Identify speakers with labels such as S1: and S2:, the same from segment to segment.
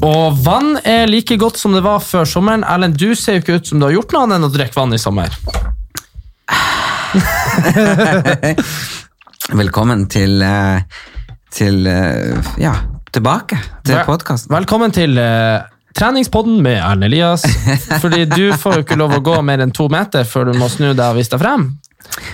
S1: Og vann er like godt som det var før sommeren. Erlend, du ser jo ikke ut som du har gjort noe annet enn å drikke vann i sommer.
S2: Velkommen til eh, Til eh, Ja, tilbake til
S1: Vel-
S2: podkasten.
S1: Velkommen til eh, treningspodden med Erlend Elias. Fordi du får jo ikke lov å gå mer enn to meter før du må snu deg og vise deg frem.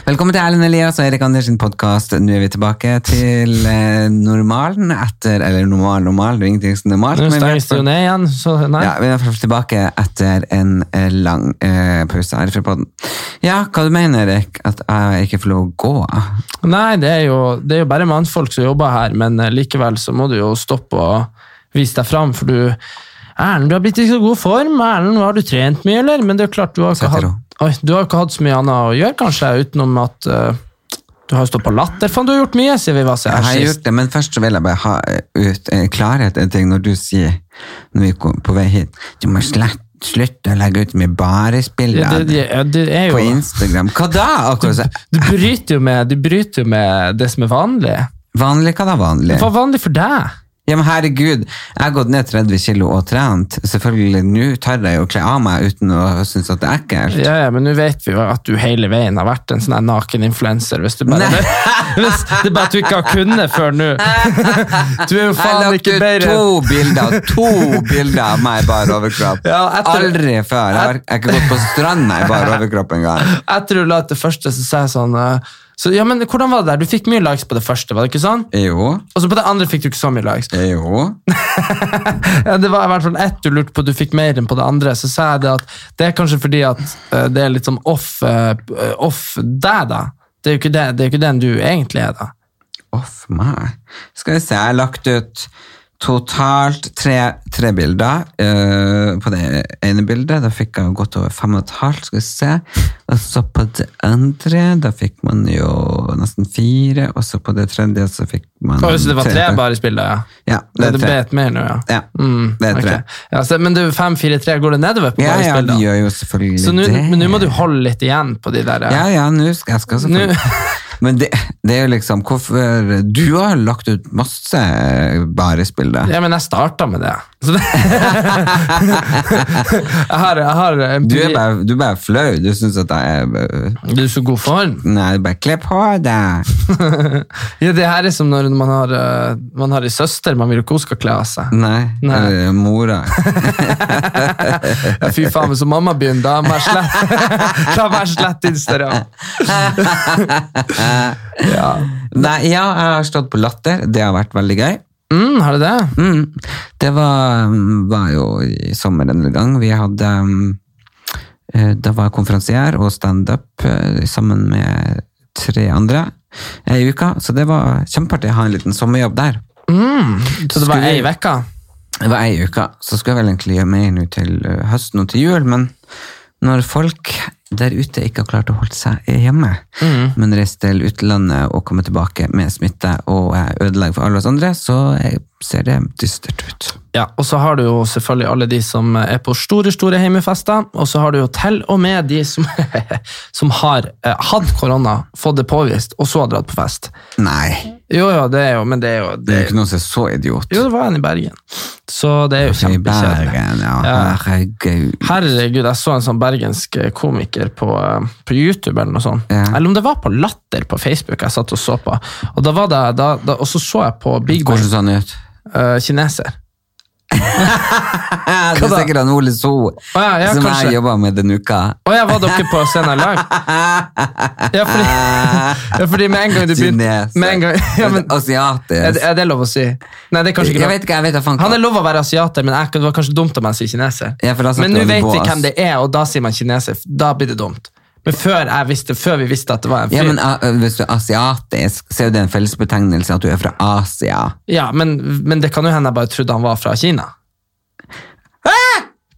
S2: Velkommen til Erlend Elias og Erik Anders sin podkast. Nå er vi tilbake til eh, normalen etter Eller normal, normal, det er ingenting som er normalt.
S1: Nå
S2: men vi er
S1: stenges det jo ned igjen, så nei.
S2: Ja, vi er i hvert fall tilbake etter en eh, lang eh, pause her fra podden. Ja, hva du mener, Erik? At jeg ikke får lov å gå?
S1: Nei, det er, jo, det er jo bare mannfolk som jobber her, men eh, likevel så må du jo stoppe og vise deg fram, for du Erlend, du har blitt i så god form. Erlend, har du trent mye, eller? Men det er jo klart, du har ikke,
S2: Sett i
S1: hatt,
S2: ro.
S1: oi, du har jo ikke hatt så mye annet å gjøre, kanskje, utenom at eh, du har jo stått på latter. Faen, du har gjort mye, sier vi hva som
S2: Jeg
S1: er
S2: har
S1: sist.
S2: gjort det, men først så vil jeg bare ha eh, ut eh, klarhet en ting når du sier, når vi kom på vei hit, du må slett slutte å legge ut mye
S1: Ja,
S2: baresbilder
S1: det, det, ja, det er
S2: på
S1: jo
S2: Instagram. Hva da? Akkurat så.
S1: Du bryter jo med, du bryter jo med det som er vanlig.
S2: Vanlig, hva da vanlig?
S1: Hva er vanlig for deg?
S2: Ja, men herregud, jeg har gått ned 30 kilo og trent. Selvfølgelig, nå tør jeg jo å kle av meg uten å synes at det er ekkelt.
S1: Ja, ja, men nå vet vi jo at du hele veien har vært en sånn her naken influenser, hvis du bare det, hvis det er bare at du ikke har kunnet før nå. Du er jo
S2: Jeg la
S1: faen ikke
S2: ut
S1: bedre.
S2: to bilder to bilder av meg i bar overkropp.
S1: Ja, etter-
S2: Aldri før. Jeg har jeg har ikke gått på stranda i bar overkropp engang.
S1: Etter du la ut det første, så sa jeg sånn eh, så, Ja, men hvordan var det der? Du fikk mye likes på det første, var det ikke sånn?
S2: Jo,
S1: Og så på det andre fikk du ikke så mye likes.
S2: jo.
S1: Ja, det var i hvert fall ett du lurte på, du fikk mer enn på det andre. Så sa jeg det at det er kanskje fordi at eh, det er litt sånn off, eh, off deg, da. Det er jo ikke, det, det er jo ikke den du egentlig er, da.
S2: Off meg. Skal vi se, jeg har lagt ut totalt tre, tre bilder. Eh, på det ene bildet, da fikk jeg godt over fem og et halvt, skal vi se. Og så på det andre, da fikk man jo nesten fire, og så på det tredje så fikk man...
S1: Oi, så det var tre bare i spillet, ja.
S2: Ja,
S1: Det,
S2: det er
S1: ble
S2: tre.
S1: et mer nå, ja.
S2: Ja,
S1: Mm,
S2: det er tre.
S1: ok. Ja, så, men du, 5-4-3, går det nedover på
S2: Ja,
S1: bare
S2: ja,
S1: spill,
S2: vi
S1: da?
S2: gjør jo selvfølgelig
S1: Så nå-
S2: det.
S1: men nå må du holde litt igjen på de der. eh.
S2: Ja, ja, nå skal jeg skal selvfølgelig. Men det, det er jo liksom hvorfor Du har lagt ut masse baresbilder.
S1: Ja, men jeg starta med det. Så det jeg har, jeg har eh, en
S2: Du er bare, du er bare flau. Du syns at jeg er øh,
S1: Du er så god form.
S2: Nei, bare kle på deg.
S1: Ja, det her er som når man har, eh, man har en søster man vil ikke hun skal kle av seg.
S2: Nei.
S1: Nei.
S2: Eller mora.
S1: Ja, fy faen, men så mamma begynner, da må jeg slett- da må jeg slette Instagram. ja.
S2: Nei, ja, jeg har stått på latter. Det har vært veldig gøy.
S1: mm, har du det?
S2: Mm. Det var, var jo i sommer en gang. Vi hadde um, eh, Da var jeg konferansier og standup eh, sammen med tre andre ei uke, så det var kjempeartig å ha en liten sommerjobb der.
S1: Så det var
S2: Skulle-
S1: ei uke?
S2: Det var ei uke, så skulle jeg vel egentlig gjøre mer nå til eh, høsten og til jul, men når folk der ute ikke har klart å holde seg hjemme,
S1: Mm.
S2: men reist til utlandet og kommer tilbake med smitte og eh, ødelegger for alle oss andre, så eh, ser det dystert ut.
S1: Ja, og så har du jo selvfølgelig alle de som er på store, store heimefester, og så har du jo til og med de som, som har eh, hatt korona, fått det påvist, og så har dratt på fest.
S2: Nei.
S1: Jo, jo, det er jo, men det er jo
S2: Det
S1: det,
S2: er jo ikke noen som er så idiot.
S1: Jo, det var en i Bergen. Så det er jo
S2: I
S1: kjempekjedelig.
S2: Bergen, ja.
S1: Ja.
S2: Herregud.
S1: Herregud, jeg så en sånn bergensk komiker på, eh, på YouTube, eller noe sånt.
S2: Ja.
S1: Eller om det var på Latter på Facebook jeg satt og så på. Og, da var det, da, da, og så så jeg på Big
S2: Hvordan sånn
S1: Bang,
S2: så han ut?
S1: eh, kineser.
S2: Det er
S1: da?
S2: sikkert han Ole So
S1: ja, ja,
S2: som
S1: kanskje.
S2: jeg jobba med denne uka.
S1: Å ja, var dere på scenen live? Ja, fordi, ja, fordi med en gang du begynte
S2: Tunese.
S1: med en gang, ja, men, er, det,
S2: Asiatisk.
S1: er det lov å si? Nei, det er kanskje
S2: Jeg
S1: ikke lov.
S2: vet ikke, jeg vet da faen
S1: Han
S2: hva.
S1: er lov å være asiater, men jeg, det var kanskje dumt om jeg sier kineser.
S2: Ja, for da satt
S1: men nå
S2: du han i
S1: vet vi
S2: bås.
S1: hvem det er, og da sier man kineser. Da blir det dumt. Men før, jeg visste, før vi visste at det var en fyr.
S2: Ja, men a- Hvis du er asiatisk, så er jo det en fellesbetegnelse at du er fra Asia.
S1: Ja, men, men det kan jo hende jeg bare trodde han var fra Kina.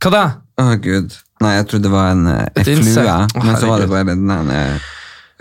S1: Hva da?
S2: Å, gud. Nei, jeg trodde det var en, eh,
S1: Et
S2: en flue,
S1: insekt. Å,
S2: men så var det
S1: herregud.
S2: bare den der eh,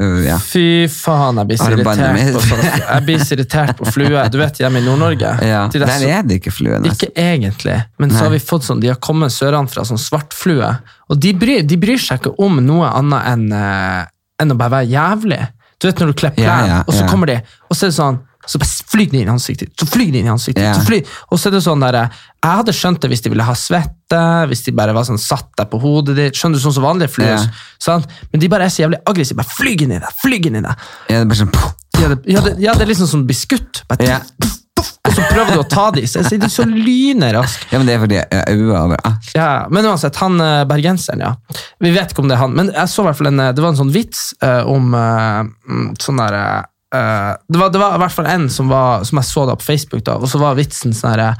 S2: uh, Ja.
S1: Fy faen, jeg blir så
S2: Har du bannet
S1: irritert
S2: med?
S1: på, sånn, jeg blir så irritert på flue. Du vet, hjemme i Nord-Norge
S2: ja.
S1: de der
S2: Der
S1: så-
S2: er det ikke flue, nesten.
S1: Ikke egentlig, men så har vi fått sånn, de har kommet søranfra, sånn svartflue. Og de bryr, de bryr seg ikke om noe annet enn, eh, enn å bare være jævlig. Du vet når du klepper
S2: Ja,
S1: klærne,
S2: ja,
S1: og så
S2: ja.
S1: kommer de, og så er det sånn, så bare flyr de inn i ansiktet, så flyr de inn i ansiktet,
S2: Ja.
S1: så flyr, og så er det sånn der, eh, jeg hadde skjønt det hvis de ville ha svette, hvis de bare var sånn, satt deg på hodet ditt, skjønner du sånn som vanlige flyr,
S2: Ja.
S1: sant? Men de bare er så jævlig aggressive, bare flyg inn i deg, flyg inn i deg.
S2: Ja, det er bare sånn poff.
S1: Ja, det, ja, det, ja, det er liksom som beskutt, bare
S2: Ja.
S1: tuff, tuff, og så prøver du å ta de, så jeg sier de er så lynerask.
S2: ja, men det er fordi Ah, jeg er øye overalt.
S1: Ja, men uansett, han eh, bergenseren, ja. Vi vet ikke om det er han, men jeg så i hvert fall en, eh, det var en sånn vits eh, om eh, mm, sånn der eh, eh, det, var, det var i hvert fall en som, var, som jeg så da på Facebook, da, og så var vitsen sånn derre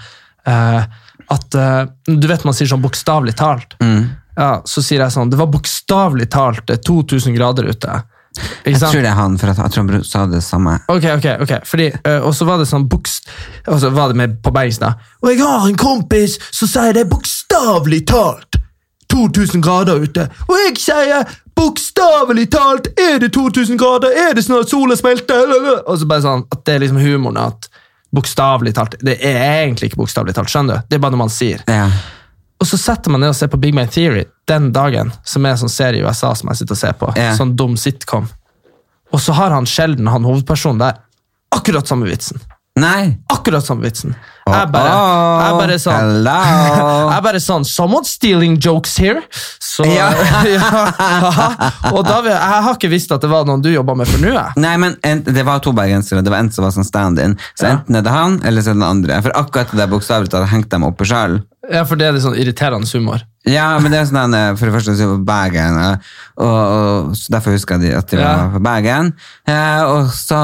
S1: eh, At eh, Du vet man sier sånn bokstavelig talt. Ja, så sier jeg sånn Det var bokstavelig talt eh, 2000 grader ute. Ikke
S2: Jeg tror det er han, for at, jeg tror han sa det samme.
S1: Ok, ok, ok. Fordi, eh, og så var det sånn bokst... Og så var det med på bergensk da. Og jeg har en kompis som sier det bokstavelig talt 2000 grader ute. Og jeg sier bokstavelig talt er det 2000 grader, er det snart sola smelter? Lalalala. Og så bare sånn at det er liksom humoren at bokstavelig talt Det er egentlig ikke bokstavelig talt, skjønner du? Det er bare noe man sier.
S2: Ja.
S1: Og så setter man ned og ser på Big Man Theory den dagen, som er en sånn serie i USA som jeg sitter og ser på.
S2: Ja.
S1: Sånn dum sitcom. Og så har han sjelden, han hovedpersonen der, akkurat samme vitsen.
S2: Nei!
S1: Akkurat samme vitsen. Jeg bare, jeg bare sånn
S2: Ah, Hello!
S1: jeg bare sånn Someone's stealing jokes here. Så, ja.
S2: Ja.
S1: haha. og da vil, jeg har ikke visst at det var noen du jobba med for nå. jeg.
S2: Nei, men en, Det var to bergensere. Det var en som var sånn stand-in. Så enten er det han, eller så er det den andre. For akkurat det der bokstavelig talt hengte dem oppe sjøl.
S1: Ja, for det er litt sånn irriterende humor.
S2: Ja, men det er sånn eh, For det første så er det på Bergen, eh, og, og så derfor husker jeg de at de
S1: Ja.
S2: var på Bergen. Eh, og så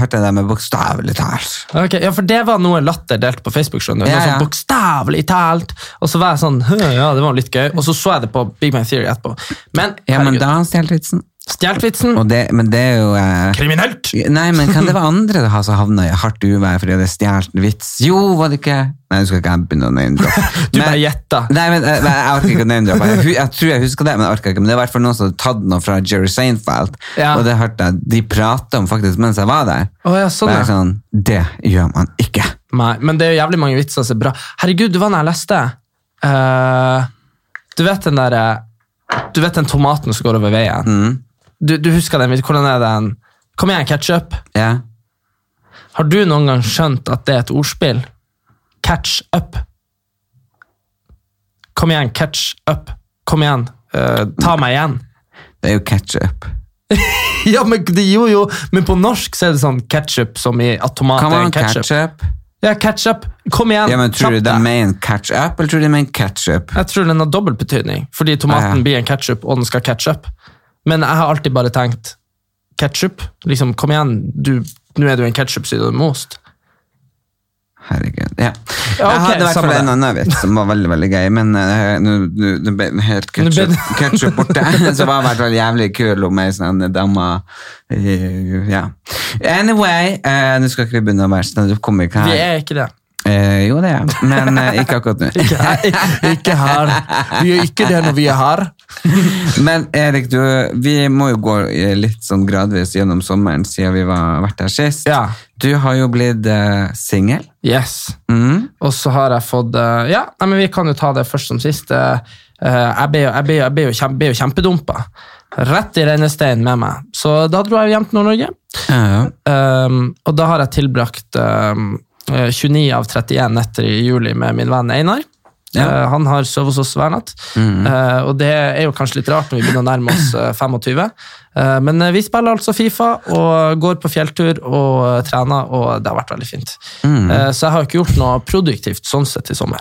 S2: hørte jeg det med bokstavelig talt.
S1: Ok, ja, for det var noe latter delt på Facebook, skjønner du.
S2: Ja,
S1: Noe
S2: ja.
S1: sånn bokstavelig talt. Og så var jeg sånn, «Hø, ja, det var litt gøy. Og så så jeg det på Big Bang Theory etterpå. Men,
S2: Ja, men
S1: herregud,
S2: da har stjålet vitsen.
S1: stjeltvitsen,
S2: Og det, men det er jo eh,
S1: kriminelt!
S2: Nei, men kan det være andre du har som havna i hardt uvær fordi de hadde stjålet en vits? Jo, var det ikke Nei, du skal ikke jeg begynne å name-droppe.
S1: Du bare gjetta.
S2: Nei, men eh, men jeg orker ikke å name-droppe. Jeg, hu- jeg tror jeg husker det, men jeg orker ikke. Men det er i hvert fall noen som hadde tatt noe fra Jerry Seinfeld,
S1: Ja.
S2: og det hørte jeg de prata om faktisk mens jeg var der.
S1: Å, ja, sånn,
S2: Bare
S1: ja.
S2: sånn, det gjør man ikke.
S1: Nei, men det er jo jævlig mange vitser som er bra. Herregud, du var når jeg leste. eh, du vet den der, eh, du vet den tomaten som går over veien.
S2: Mm.
S1: Du, du husker den, hvordan er den? Kom igjen, ketchup.
S2: Ja.
S1: Har du noen gang skjønt at det er et ordspill? Catch up. Kom igjen, catch up. Kom igjen, eh, ta meg igjen.
S2: Det er jo ketchup.
S1: Ja, men det, jo, jo, men på norsk så er det sånn ketchup som i at tomat
S2: Kan
S1: Ah, er en
S2: man
S1: ketchup.
S2: ketchup?
S1: Ja, ketchup. Kom igjen,
S2: Ja, men tror
S1: kjapp
S2: du de
S1: deg.
S2: mener ketchup, eller tror du de mener ketchup?
S1: Jeg tror den har dobbelt betydning, fordi tomaten
S2: Ah, ja.
S1: blir en ketchup, og den skal catch up. Men jeg har alltid bare tenkt, ketchup, liksom, kom igjen, du, nå er du en ketchup-sydde most.
S2: Herregud, ja.
S1: Ja, ok,
S2: jeg hadde i hvert
S1: samme
S2: fall en
S1: det.
S2: annen vits som var veldig, veldig gøy, men eh, nå nå- nå ble den helt
S1: Nå ble
S2: ketchup,
S1: den-
S2: ketchup borte, så var i hvert fall jævlig kul om ei sånn dame. eh, Ja. Anyway, eh, nå skal ikke vi begynne å være sånn, du kommer ikke her.
S1: Vi er ikke det.
S2: Eh, jo, det er jeg, men eh, ikke akkurat nå.
S1: Ikke her. Vi er ikke det når vi er her.
S2: Men Erik, du, vi må jo gå eh, litt sånn gradvis gjennom sommeren siden vi var, vært her sist.
S1: Ja.
S2: Du har jo blitt eh, singel.
S1: Yes.
S2: Mm.
S1: Og så har jeg fått eh, Ja, nei, men vi kan jo ta det først som sist. Eh, eh, Jeg ble, jo- jeg ble, jo- jeg ble, jo kjem- ble jo kjempedumpa. Rett i rennesteinen med meg. Så da dro jeg hjem til Nord-Norge. Um, og da har jeg tilbrakt um, eh, 29 av 31 netter i juli med min venn Einar. Eh, han har sovet hos oss hver natt,
S2: Mhm.
S1: Eh, og det er jo kanskje litt rart når vi begynner å nærme oss eh, 25. Eh, men eh, vi spiller altså Fifa og går på fjelltur
S2: Mhm.
S1: og eh, trener, og det har vært veldig fint. Eh, så jeg har ikke gjort noe produktivt sånn sett i sommer.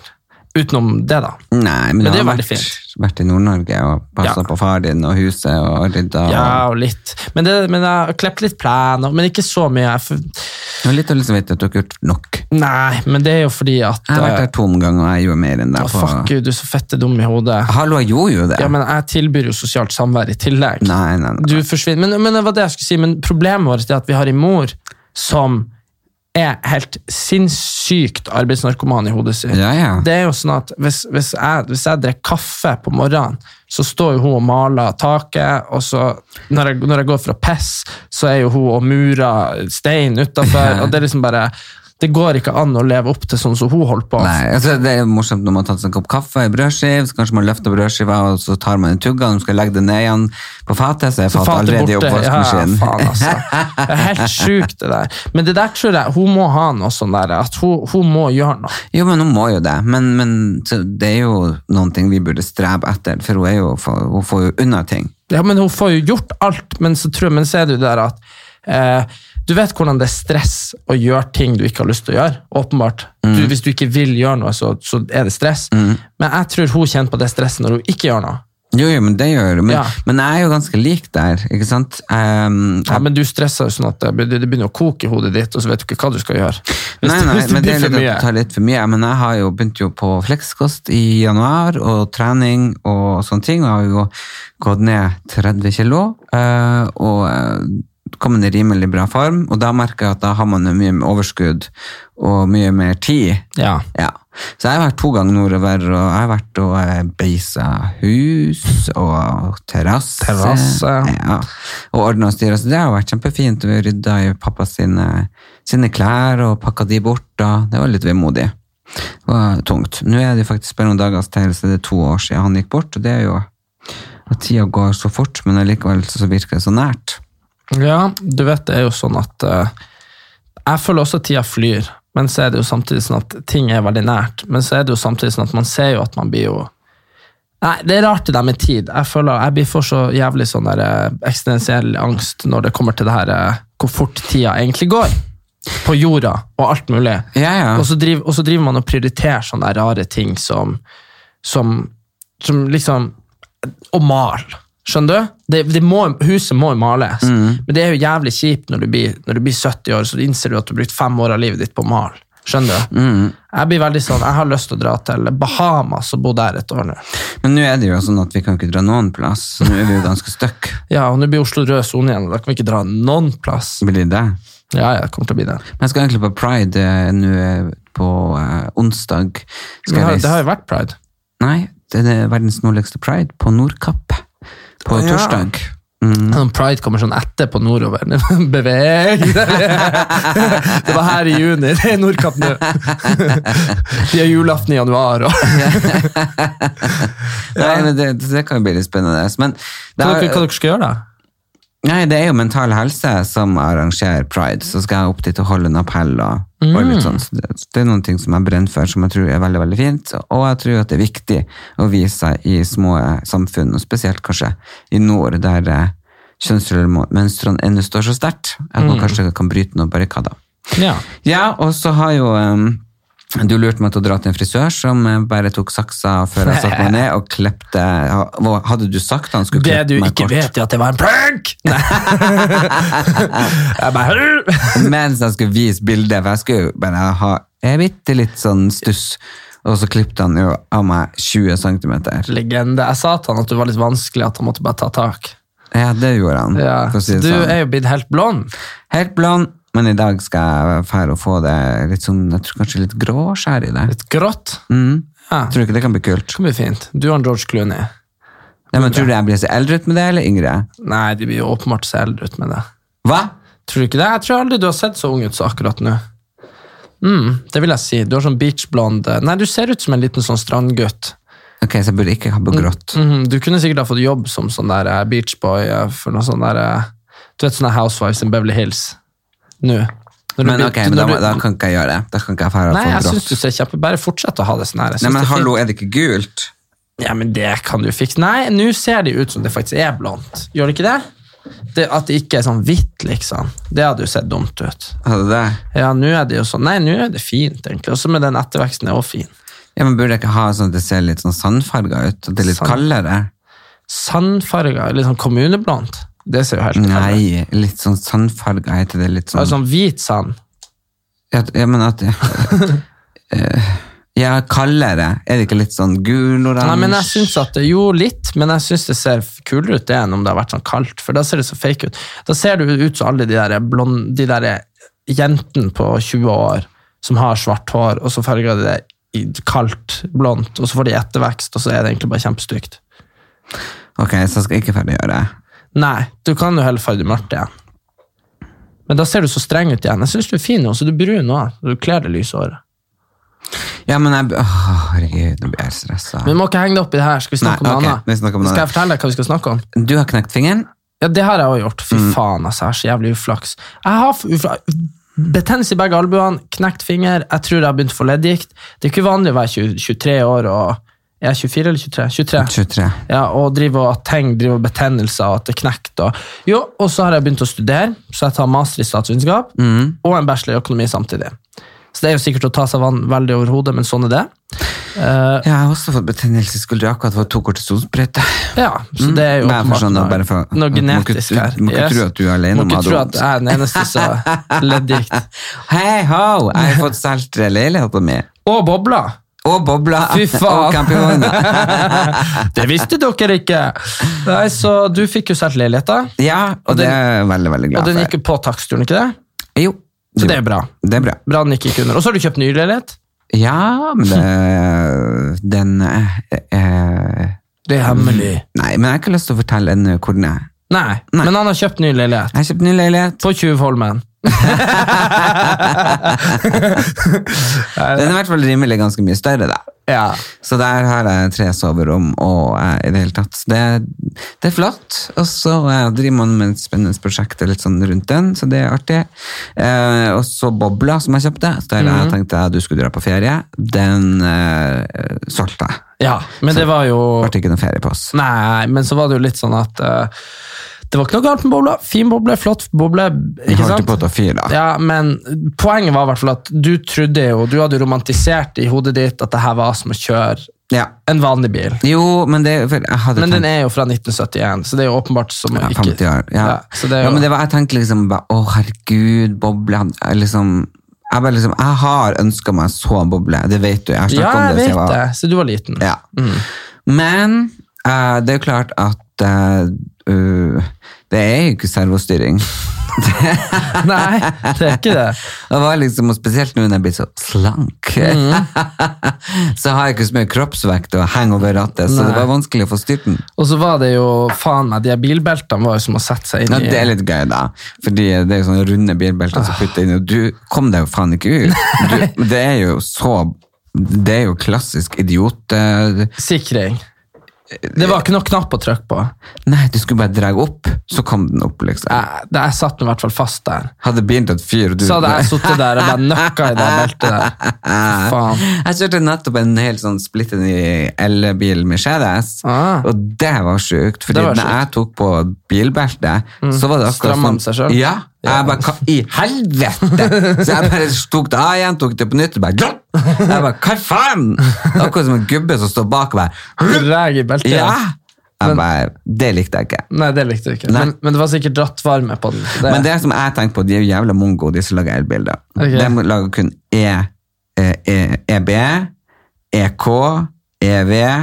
S1: Utenom det, da.
S2: Nei, men,
S1: Men det
S2: jeg
S1: er
S2: har
S1: veldig
S2: vært, vært i Nord-Norge og passa
S1: Ja.
S2: på far din og huset og rydda. og-
S1: Ja, og litt. Men, det, men jeg har klept litt plen, og- men ikke så mye. Jeg f-
S2: Det var litt dårlig samvittighet at du ikke har gjort nok.
S1: Nei, men det er jo fordi at
S2: Jeg har vært
S1: eh,
S2: der to omganger, og jeg gjorde mer enn deg.
S1: å,
S2: På...
S1: Fuck, gud, du er så fette dum i hodet.
S2: Hallo, jeg gjorde jo det.
S1: Ja, men jeg tilbyr jo sosialt samvær i tillegg.
S2: Nei, nei, nei.
S1: Du forsvinner. Men, men det var det jeg skulle si, men problemet vårt er at vi har en mor som er helt sinnssykt arbeidsnarkoman i hodet sitt.
S2: Ja, ja.
S1: Det er jo sånn at hvis, hvis jeg, hvis jeg drikker kaffe på morgenen, så står jo hun og maler taket, og så når jeg, når jeg går for å pisse, så er jo hun og murer stein utafor, og det er liksom bare Det går ikke an å leve opp til sånn som hun holdt på.
S2: Nei, altså Det er jo morsomt når man har tatt seg en kopp kaffe, en brødskive, så kanskje man løfter brødskiva, og så tar man en tugga, og man skal legge det ned igjen på fatet, så er
S1: Så
S2: fatet
S1: fatet
S2: allerede i
S1: borte.
S2: oppvaskmaskinen.
S1: Ja, faen, altså. Det er helt sjukt, det der. Men det der tror jeg hun må ha noe sånn der, at hun, hun må gjøre noe.
S2: Jo, men hun må jo det. Men, men så det er jo noen ting vi burde strebe etter, for hun, er jo, hun får jo unna ting.
S1: Ja, men hun får jo gjort alt, men så, tror jeg, men så er det jo der at eh, Du vet hvordan det er stress å gjøre ting du ikke har lyst til å gjøre. åpenbart. Du,
S2: Mm.
S1: hvis du ikke vil gjøre noe, så, så er det stress. Men jeg tror hun kjenner på det stresset når hun ikke gjør noe.
S2: Jo, jo, men det gjør hun. Men,
S1: Ja.
S2: men jeg er jo ganske lik der, ikke sant? Ehm,
S1: Ja, men du stresser jo sånn at det be- det begynner å koke i hodet ditt, og så vet du ikke hva du skal gjøre. Hvis
S2: Nei,
S1: det-
S2: nei,
S1: hvis det
S2: men det
S1: blir
S2: er
S1: for
S2: litt,
S1: mye.
S2: å ta litt for mye. Men jeg har jo begynt jo på flekskost i januar, og trening og sånne ting. Og jeg har jo gått ned 30 kilo, eh, og eh, kommet i rimelig bra form. Og da merker jeg at da har man jo mye mer overskudd og mye mer tid.
S1: Ja.
S2: Ja. Så jeg har vært to ganger nordover, og jeg har vært og eh, beisa hus og terrasse.
S1: Terrasse.
S2: Ja. Og ordna og styra, så det har vært kjempefint. Vi rydda i pappa sine, sine klær og pakka de bort. Da. Det var litt vemodig. Det var tungt. Nå er det jo faktisk bare noen dagers til, så det er to år siden han gikk bort. og det er jo at Tida går så fort, men allikevel så virker det så nært.
S1: Ja, du vet det er jo sånn at eh, Jeg føler også at tida flyr, men så er det jo samtidig sånn at ting er veldig nært. Men så er det jo samtidig sånn at man ser jo at man blir jo Nei, det er rart det der med tid. Jeg føler jeg blir for så jævlig sånn der eh, eksistensiell angst når det kommer til det her eh, hvor fort tida egentlig går. På jorda og alt mulig.
S2: Ja, ja.
S1: Og, så driver, og så driver man og prioriterer sånne der rare ting som, som, som liksom Å male. Skjønner du? Det, det må, huset må jo males,
S2: Mm.
S1: men det er jo jævlig kjipt når du, blir, når du blir 70 år, så innser du at du har brukt fem år av livet ditt på å male. Skjønner du?
S2: Mm.
S1: Jeg blir veldig sånn, jeg har lyst til å dra til Bahamas og bo der et år nå.
S2: Men nå er det jo sånn at vi kan ikke dra noen plass, så nå er vi jo ganske stuck.
S1: Ja, og nå blir Oslo rød sone igjen, og da kan vi ikke dra noen plass.
S2: Blir det det?
S1: Ja, ja, det kommer til å bli det.
S2: Men jeg skal egentlig på Pride eh, nå eh, på eh, onsdag.
S1: Men
S2: Skal
S1: det
S2: jeg
S1: har, det
S2: reise
S1: har jo vært pride.
S2: Nei, det er det verdens nordligste Pride på Nordkapp
S1: Å,
S2: på
S1: ja.
S2: torsdag.
S1: Sånn Pride kommer sånn etterpå nordover. Beveg deg! Det var her i juni. Det er Nordkapp nå. De har julaften i januar. Og.
S2: Nei, men det, det kan jo bli litt spennende. Men det,
S1: Hva, dere- hva
S2: er,
S1: dere skal gjøre, da?
S2: nei, det er jo Mental Helse som arrangerer Pride, så skal jeg opp dit og holde en appell. og, og
S1: Mm.
S2: litt sånn. Så det, det er noen ting som jeg brenner for, som jeg tror er veldig veldig fint. Og jeg tror at det er viktig å vise seg i små eh, samfunn, og spesielt kanskje i nord, der eh, kjønnsrollemønstrene ennå står så sterkt, at
S1: Mm.
S2: man kanskje kan bryte noen barrikader.
S1: Ja.
S2: Ja, og så har jo em, du lurte meg til å dra til en frisør som eh, bare tok saksa før jeg satte meg ned og klepte Hva Hadde du sagt han skulle
S1: Det du
S2: klippe meg
S1: ikke
S2: kort?
S1: vet, er at det var en prank! Nei. Jeg bare «Hør!»
S2: Mens jeg skulle vise bildet, for jeg skulle jo bare ha en bitte litt sånn stuss. Og så klippte han jo av meg 20 cm.
S1: Legende. Jeg sa til han at du var litt vanskelig, at han måtte bare ta tak.
S2: Ja, det gjorde han.
S1: Ja.
S2: for å si det
S1: Du
S2: sånn.
S1: er jo blitt helt blond.
S2: Helt blond, men i dag skal jeg fære og få det litt sånn, jeg tror kanskje litt grå skjær i det.
S1: Litt grått.
S2: Mm.
S1: Ja. Det
S2: Tror du ikke det kan bli kult?
S1: kan bli fint. Du og George Clooney.
S2: Nei, men Tror du jeg blir så eldre ut med det, eller yngre?
S1: Nei, de blir jo åpenbart så eldre ut med det.
S2: Hva?
S1: Tror du ikke det? Jeg tror aldri du har sett så ung ut som akkurat nå. Mm, det vil jeg si. Du har sånn beachblond eh, Nei, du ser ut som en liten sånn strandgutt.
S2: Ok, så jeg burde ikke ha på grått.
S1: Mhm, du kunne sikkert ha fått jobb som sånn der eh, beachboy eh, for noe sånn der eh, Du vet sånne Housewives in Beverly Hills nå. Når du
S2: Men
S1: blir-
S2: ok, men
S1: når
S2: da,
S1: du-
S2: da kan ikke jeg gjøre det. Da kan ikke jeg fære og
S1: Nei,
S2: få
S1: jeg syns
S2: grått.
S1: du ser kjempe Bare fortsett å ha det sånn her. Jeg
S2: Nei,
S1: synes det
S2: men
S1: er
S2: hallo,
S1: fint.
S2: er det ikke gult?
S1: Ja, men det kan du fikse. Nei, nå ser det ut som det faktisk er blondt. Gjør det ikke det? det? At det ikke er sånn hvitt, liksom. Det hadde jo sett dumt ut.
S2: Hadde det?
S1: Ja, nå er det jo sånn. Nei, nå er det fint, egentlig. Også med den etterveksten er også fin.
S2: Ja, men Burde jeg ikke ha sånn at det ser litt sånn sandfarga ut? At det er litt
S1: Sand.
S2: kaldere?
S1: Sandfarga, litt sånn kommuneblondt. Det ser jo helt ut.
S2: Nei, litt sånn sandfarga heter det. Litt sånn,
S1: Sånn hvit sand.
S2: ja, ja, men at Eh, Ja, kaldere. Er det ikke litt sånn gul-oransje?
S1: Nei, men jeg synes at det, Jo, litt, men jeg syns det ser kulere ut det enn om det har vært sånn kaldt. For da ser det så fake ut. Da ser det ut som alle de der, blond, de der jentene på 20 år som har svart hår, og så farger de det i kaldt blondt, og så får de ettervekst, og så er det egentlig bare kjempestygt.
S2: Ok, så skal jeg ikke fargegjøre det.
S1: Nei, du kan jo heller farge mørkt igjen. Men da ser du så streng ut igjen. Jeg syns du er fin nå, så du er brun nå. Du kler det lyse håret.
S2: Ja, men jeg Åh, herregud, nå blir jeg stressa.
S1: Men vi må ikke henge det opp i det her. Skal vi snakke
S2: Nei,
S1: om
S2: ok,
S1: noe
S2: vi
S1: annet?
S2: snakker om noe
S1: Skal jeg
S2: annet.
S1: fortelle deg hva vi skal snakke om?
S2: Du har knekt fingeren.
S1: Ja, det har jeg også gjort.
S2: Mm.
S1: Fy faen, altså. Jeg har så jævlig uflaks. Jeg har f- ufla- betennelse i begge albuene, knekt finger, jeg tror jeg har begynt å få leddgikt. Det er ikke vanlig å være 20, 23 år og Er jeg 24 eller 23? 23.
S2: 23.
S1: Ja, og driver og at ting driver betennelser og at det er knekt. Og, jo, og så har jeg begynt å studere, så jeg tar master i statsvitenskap
S2: Mm.
S1: og en bachelor i økonomi samtidig. Så det er jo sikkert å ta seg vann veldig over hodet, men sånn er det.
S2: Jeg har også fått betennelse i skuldra akkurat for to kortisonsprøyter.
S1: Ja, så det er jo
S2: Bare for
S1: åpenbart
S2: sånn,
S1: noe-
S2: bare for-
S1: noe
S2: du må ikke-
S1: genetisk
S2: du-
S1: her.
S2: du må ikke tro at du er alene om
S1: Må
S2: å ha
S1: ikke
S2: det
S1: tro at
S2: vondt.
S1: jeg er den eneste som er leddgikt.
S2: Hei ho! Jeg har fått saltre leiligheter mi.
S1: Og bobler!
S2: Og bobla.
S1: Fy faen.
S2: Og campioner.
S1: Det visste dere ikke! Nei, så du fikk jo solgt leiligheta,
S2: Ja, og,
S1: Og den-
S2: det er jeg veldig, veldig
S1: og
S2: glad
S1: den
S2: for.
S1: gikk jo på takstturen, ikke det?
S2: Jo.
S1: Så det er bra.
S2: Det er bra.
S1: Bra den gikk ikke under. Og så har du kjøpt ny leilighet.
S2: Ja, men det, den eh, eh,
S1: Det er hemmelig.
S2: Nei, men jeg har ikke lyst til å fortelle ennå hvor den er.
S1: Nei, men han har kjøpt ny leilighet.
S2: Jeg har kjøpt ny leilighet.
S1: På Tjuvholmen.
S2: Den er i hvert fall rimelig ganske mye større, da.
S1: Ja.
S2: Så der har jeg tre soverom og eh, i det hele tatt. så Det, det er flott. Og så eh, driver man med et spennende prosjekt litt sånn rundt den, så det er artig. Eh, og så bobla som jeg kjøpte, så der
S1: Mhm.
S2: jeg tenkte jeg du skulle dra på ferie, den eh, solgte jeg.
S1: ja, men det var jo
S2: Det ble ikke noe ferie på oss.
S1: Nei, men så var det jo litt sånn at eh, det var ikke noe galt med bobla. Fin boble, flott boble.
S2: Vi
S1: ikke
S2: holdt
S1: sant?
S2: på å ta fyr, da.
S1: Ja, men poenget var i hvert fall at du trodde jo, du hadde romantisert i hodet ditt at det her var som å kjøre
S2: Ja.
S1: en vanlig bil.
S2: Jo, men det for jeg hadde
S1: Men den
S2: tenkt-
S1: er jo fra 1971, så det er jo åpenbart som å
S2: ja,
S1: ikke
S2: 50 år. Ja.
S1: Ja, så det er
S2: ja,
S1: jo,
S2: men det var, jeg tenkte liksom bare, å herregud, boble. han- jeg Liksom, jeg, bare liksom, jeg har ønsket meg så en boble, det vet du. Jeg har snakket
S1: ja,
S2: om
S1: jeg
S2: det.
S1: vet
S2: siden jeg var,
S1: det. Mm. Så du var liten.
S2: Ja. Men eh, det er jo klart at eh, uh, det er jo ikke servostyring.
S1: Nei, det er ikke det.
S2: Det var liksom, og Spesielt nå når jeg er blitt så slank.
S1: Mm.
S2: så har jeg ikke så mye kroppsvekt å henge over rattet, så det
S1: Nei.
S2: var vanskelig å få styrt den.
S1: Og så var det jo, faen meg, de her bilbeltene var jo som å sette seg inn
S2: Ja,
S1: i
S2: det er litt gøy, da. Fordi det er jo sånne runde bilbelter
S1: Ah.
S2: som putter inn, og du kom deg jo faen ikke ut. Du, det er jo så Det er jo klassisk idiot... eh,
S1: sikring. Det var ikke noe knapp å trykke på.
S2: Nei, du skulle bare dra opp, så kom den opp, liksom.
S1: Jeg, det- jeg satt nå i hvert fall fast der.
S2: Hadde bilen tatt fyr, og du
S1: Så hadde jeg sittet der og bare nøkka i det beltet der. Fy Faen.
S2: Jeg kjørte nettopp en helt sånn splitten i elbil Mercedes,
S1: Ah.
S2: og det var sjukt. Fordi
S1: Det var
S2: når jeg tok på bilbeltet, så var det akkurat
S1: Stramma den seg selv?
S2: Ja. Jeg bare, hva i helvete? Så jeg bare tok det av igjen, tok det på nytt, og bare glopp! Jeg bare, hva faen? Akkurat som en gubbe som står bak meg.
S1: Dreg i beltet.
S2: Ja! Jeg bare, det likte jeg ikke.
S1: Nei, det likte du ikke.
S2: Nei.
S1: Men, men det var sikkert drattvarme på den. så Det,
S2: Men det som jeg tenker på, de er jo jævla mongo, de som lager elbiler.
S1: Ok.
S2: De lager kun E, E, E, EB, EK, EV, E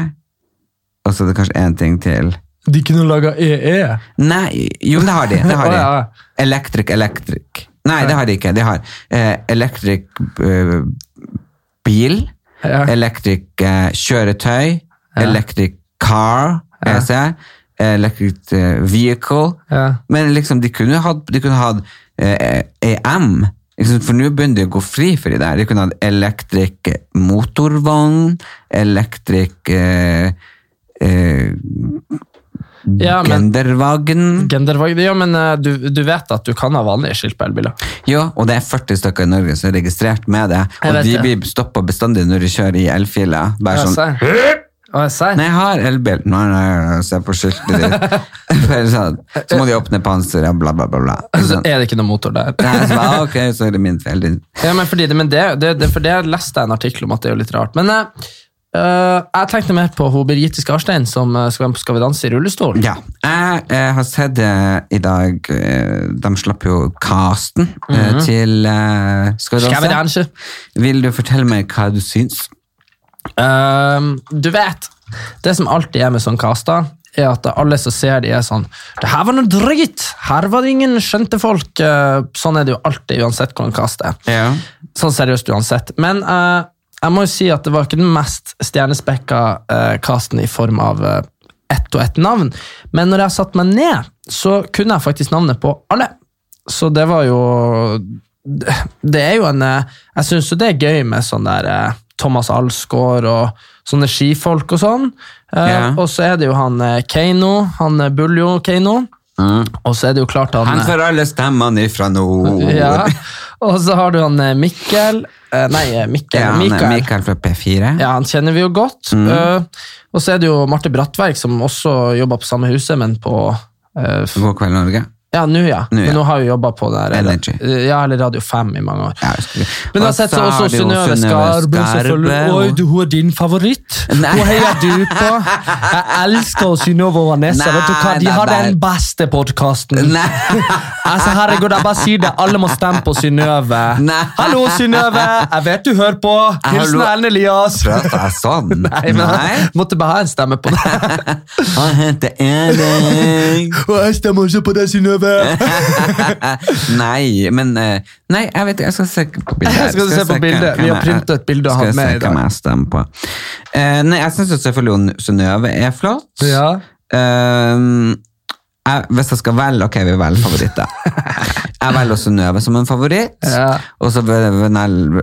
S2: og så er det kanskje én ting til.
S1: De kunne E laga EE.
S2: Nei, jo, men det har de. Det har
S1: Å, ja, ja.
S2: de. Electric, electric. Nei, det har de ikke. De har eh, electric eh, bil,
S1: Ja.
S2: electric eh, kjøretøy, electric car, EC, electric eh, vehicle.
S1: Ja.
S2: Men liksom, de kunne hatt, de kunne hatt eh, EM, liksom, for nå begynner de å gå fri for de der. De kunne hatt elektrik motorvogn, elektrik eh, eh,
S1: Ja, men,
S2: gendervagn.
S1: Gendervag- ja, men eh, du, du vet at du kan ha vanlige skilt på elbiler.
S2: Ja, og det er 40 stykker i Norge som er registrert med det,
S1: Jeg
S2: og
S1: vet
S2: de
S1: det.
S2: blir stoppa bestandig når de kjører i elfiler. Bare
S1: Ja,
S2: sånn
S1: ser. Å, serr?
S2: Nei, jeg har elbil. Nå er det- se på skiltet ditt. Bare sånn, Så må de åpne panseret, bla, bla, bla. bla.
S1: Så
S2: Sånn.
S1: er det ikke noe motor der.
S2: Nei, så bare, ok, så er det min feil. din.
S1: Ja, men fordi det, men det, det, det, for det leste jeg en artikkel om at det er jo litt rart. Men eh, eh, jeg tenkte mer på hun Birgitte Skarstein som eh, skal være med på Skal vi danse i rullestol.
S2: Ja. Jeg, eh, har sett eh, i dag eh, De slapp jo casten eh, til eh, Skal vi danse?
S1: Skal vi danse?
S2: Vil du fortelle meg hva du syns?
S1: Ehm, du vet, det som alltid er med sånn kaster, er at alle som ser de er sånn Det her var noe dritt! Her var det ingen skjønte folk. Eh, sånn er det jo alltid, uansett hvordan kast er.
S2: Ja.
S1: Sånn seriøst uansett. Men eh, jeg må jo si at det var ikke den mest stjernespekka eh, casten i form av eh, ett og ett navn. Men når jeg satte meg ned, så kunne jeg faktisk navnet på alle. Så det var jo Det det er jo en eh, Jeg syns jo det er gøy med sånn der eh, Thomas Alsgaard og sånne skifolk og sånn. Eh,
S2: Ja.
S1: Og så er det jo han eh, Keiino, han eh, Buljo Keiino. Og så er det jo klart han,
S2: Han
S1: eh,
S2: får alle stemmene ifra nord.
S1: ja. Og så har du han eh, Mikkel eh, Nei, eh, Mikkel.
S2: Ja, han er
S1: Mikael.
S2: Mikael fra P4.
S1: Ja, han kjenner vi jo godt. Eh, og så er det jo Marte Brattverk, som også jobber på samme huset, men på eh, f-
S2: God kveld, Norge.
S1: Ja, nå, ja.
S2: Nå, ja.
S1: Men hun har jo jobba på der,
S2: Energy.
S1: eh, ja, eller Radio 5 i mange år.
S2: Ja, jeg husker det.
S1: Men
S2: Og
S1: uansett,
S2: så
S1: så
S2: har
S1: også
S2: du jo
S1: Synnøve Skarbø.
S2: Synnøve
S1: selvfølgelig.
S2: Skarbø.
S1: Oi, du, hun er din favoritt!
S2: Nei.
S1: Hun heier du på! Jeg elsker Synnøve og Vanessa.
S2: Nei,
S1: Vet du hva? De
S2: nei,
S1: har
S2: nei.
S1: den beste podkasten.
S2: Nei.
S1: Altså, herregud, jeg bare sier det. Alle må stemme på Synnøve.
S2: Nei.
S1: Hallo, Synnøve! Jeg vet du hører på! Hilsen
S2: Hallo.
S1: Ellen Elias!
S2: Prater jeg sånn?
S1: Nei, men jeg måtte bare ha en stemme på det.
S2: Han heter Erik.
S1: Og jeg stemmer også på deg, Synnøve!
S2: nei, men eh, Nei, jeg vet ikke. Jeg skal se på bildet. her.
S1: Skal du se på
S2: hvem-
S1: bildet? Vi har
S2: hvem jeg-
S1: printet bildet og hatt
S2: Skal
S1: med i
S2: jeg se hvem
S1: dag.
S2: jeg stemmer på. Eh, nei, jeg syns selvfølgelig hun Synnøve er flott.
S1: Ja.
S2: Eh, jeg, hvis jeg skal velge, ok, vi velger favoritter. Jeg velger Synnøve som en favoritt.
S1: Ja.
S2: Og så Venel-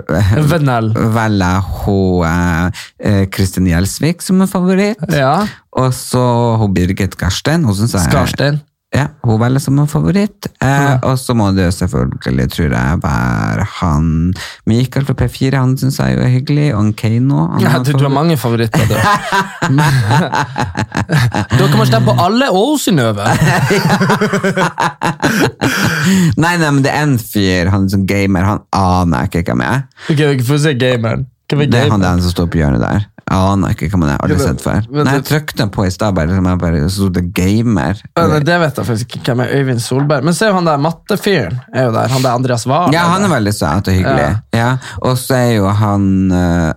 S1: Venel.
S2: velger jeg hun eh, eh, Kristin Gjelsvik som en favoritt.
S1: ja.
S2: Og så hun Birgit Garstein. Hun synes jeg
S1: Skarstein.
S2: ja, hun velger som en favoritt. Eh, og så må det jo selvfølgelig, tror jeg, være han Mikael fra P4. Han syns jeg jo er hyggelig. Og han Keiino. han
S1: Ja,
S2: er
S1: du, du har
S2: favoritt.
S1: mange favoritter, du. Dere må stemme på alle og Synnøve.
S2: Nei, nei, men det er en fyr, han er sånn gamer, han aner jeg ikke hvem jeg er.
S1: Okay, Få se gameren. Hvem
S2: Det er han der som står på hjørnet der. Jeg aner ikke hvem han er. Aldri
S1: Ja, men-
S2: sett før.
S1: men
S2: Nei, jeg
S1: det-
S2: trykte på i stad, bare, som jeg bare så sto det gamer.
S1: Ja, nei, det vet jeg faktisk ikke hvem er. Øyvind Solberg. Men se jo han der mattefyren. er jo der. Han der Andreas Wahl.
S2: Ja, han er veldig søt og hyggelig. Ja. Og så er jo han eh,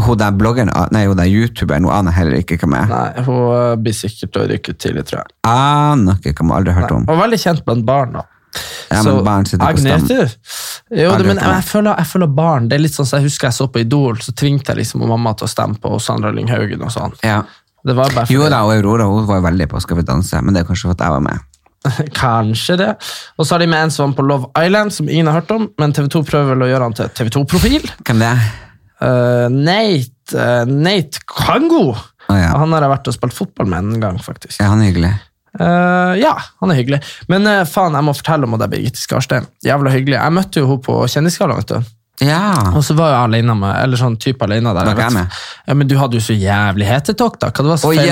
S2: Hun der bloggeren, ah, nei, hun der youtuberen, hun aner heller ikke hvem jeg er.
S1: Nei, hun eh, blir sikkert å rykke ut tidlig, tror jeg.
S2: Aner ikke, kan man aldri hørt om.
S1: Og veldig kjent blant barn, da.
S2: Ja, men barn sitter på stammen.
S1: Agnete? Jo,
S2: Aldri
S1: det, men
S2: hørt om det.
S1: jeg føler, jeg føler barn Det er litt sånn som jeg husker jeg så på Idol, så tvingte jeg liksom mamma til å stemme på Sandra Lynghaugen og sånn.
S2: Ja.
S1: Det var bare
S2: Jo
S1: fordi-
S2: da, og Aurora hun var jo veldig på Skal vi danse, men det er kanskje for at jeg var med.
S1: Kanskje det. Og så har de med en som var på Love Island, som ingen har hørt om, men TV2 prøver vel å gjøre han til TV2-profil.
S2: Hvem det er?
S1: Eh, Nate, eh, Nate Kango.
S2: Ah, ja.
S1: Han har jeg vært og spilt fotball med en gang, faktisk.
S2: Ja, han er hyggelig.
S1: Eh, ja, han er hyggelig. Men eh, faen, jeg må fortelle om det Birgitte Skarstein. Jævla hyggelig. Jeg møtte jo henne på Kjendisgallaen, vet du.
S2: Ja.
S1: Og så var jeg alene med, eller sånn type alene der.
S2: Var ikke
S1: vet
S2: jeg
S1: du.
S2: med?
S1: Ja, men du hadde jo så jævlig hetetokk, da. Hva det var som
S2: Å,
S1: feilet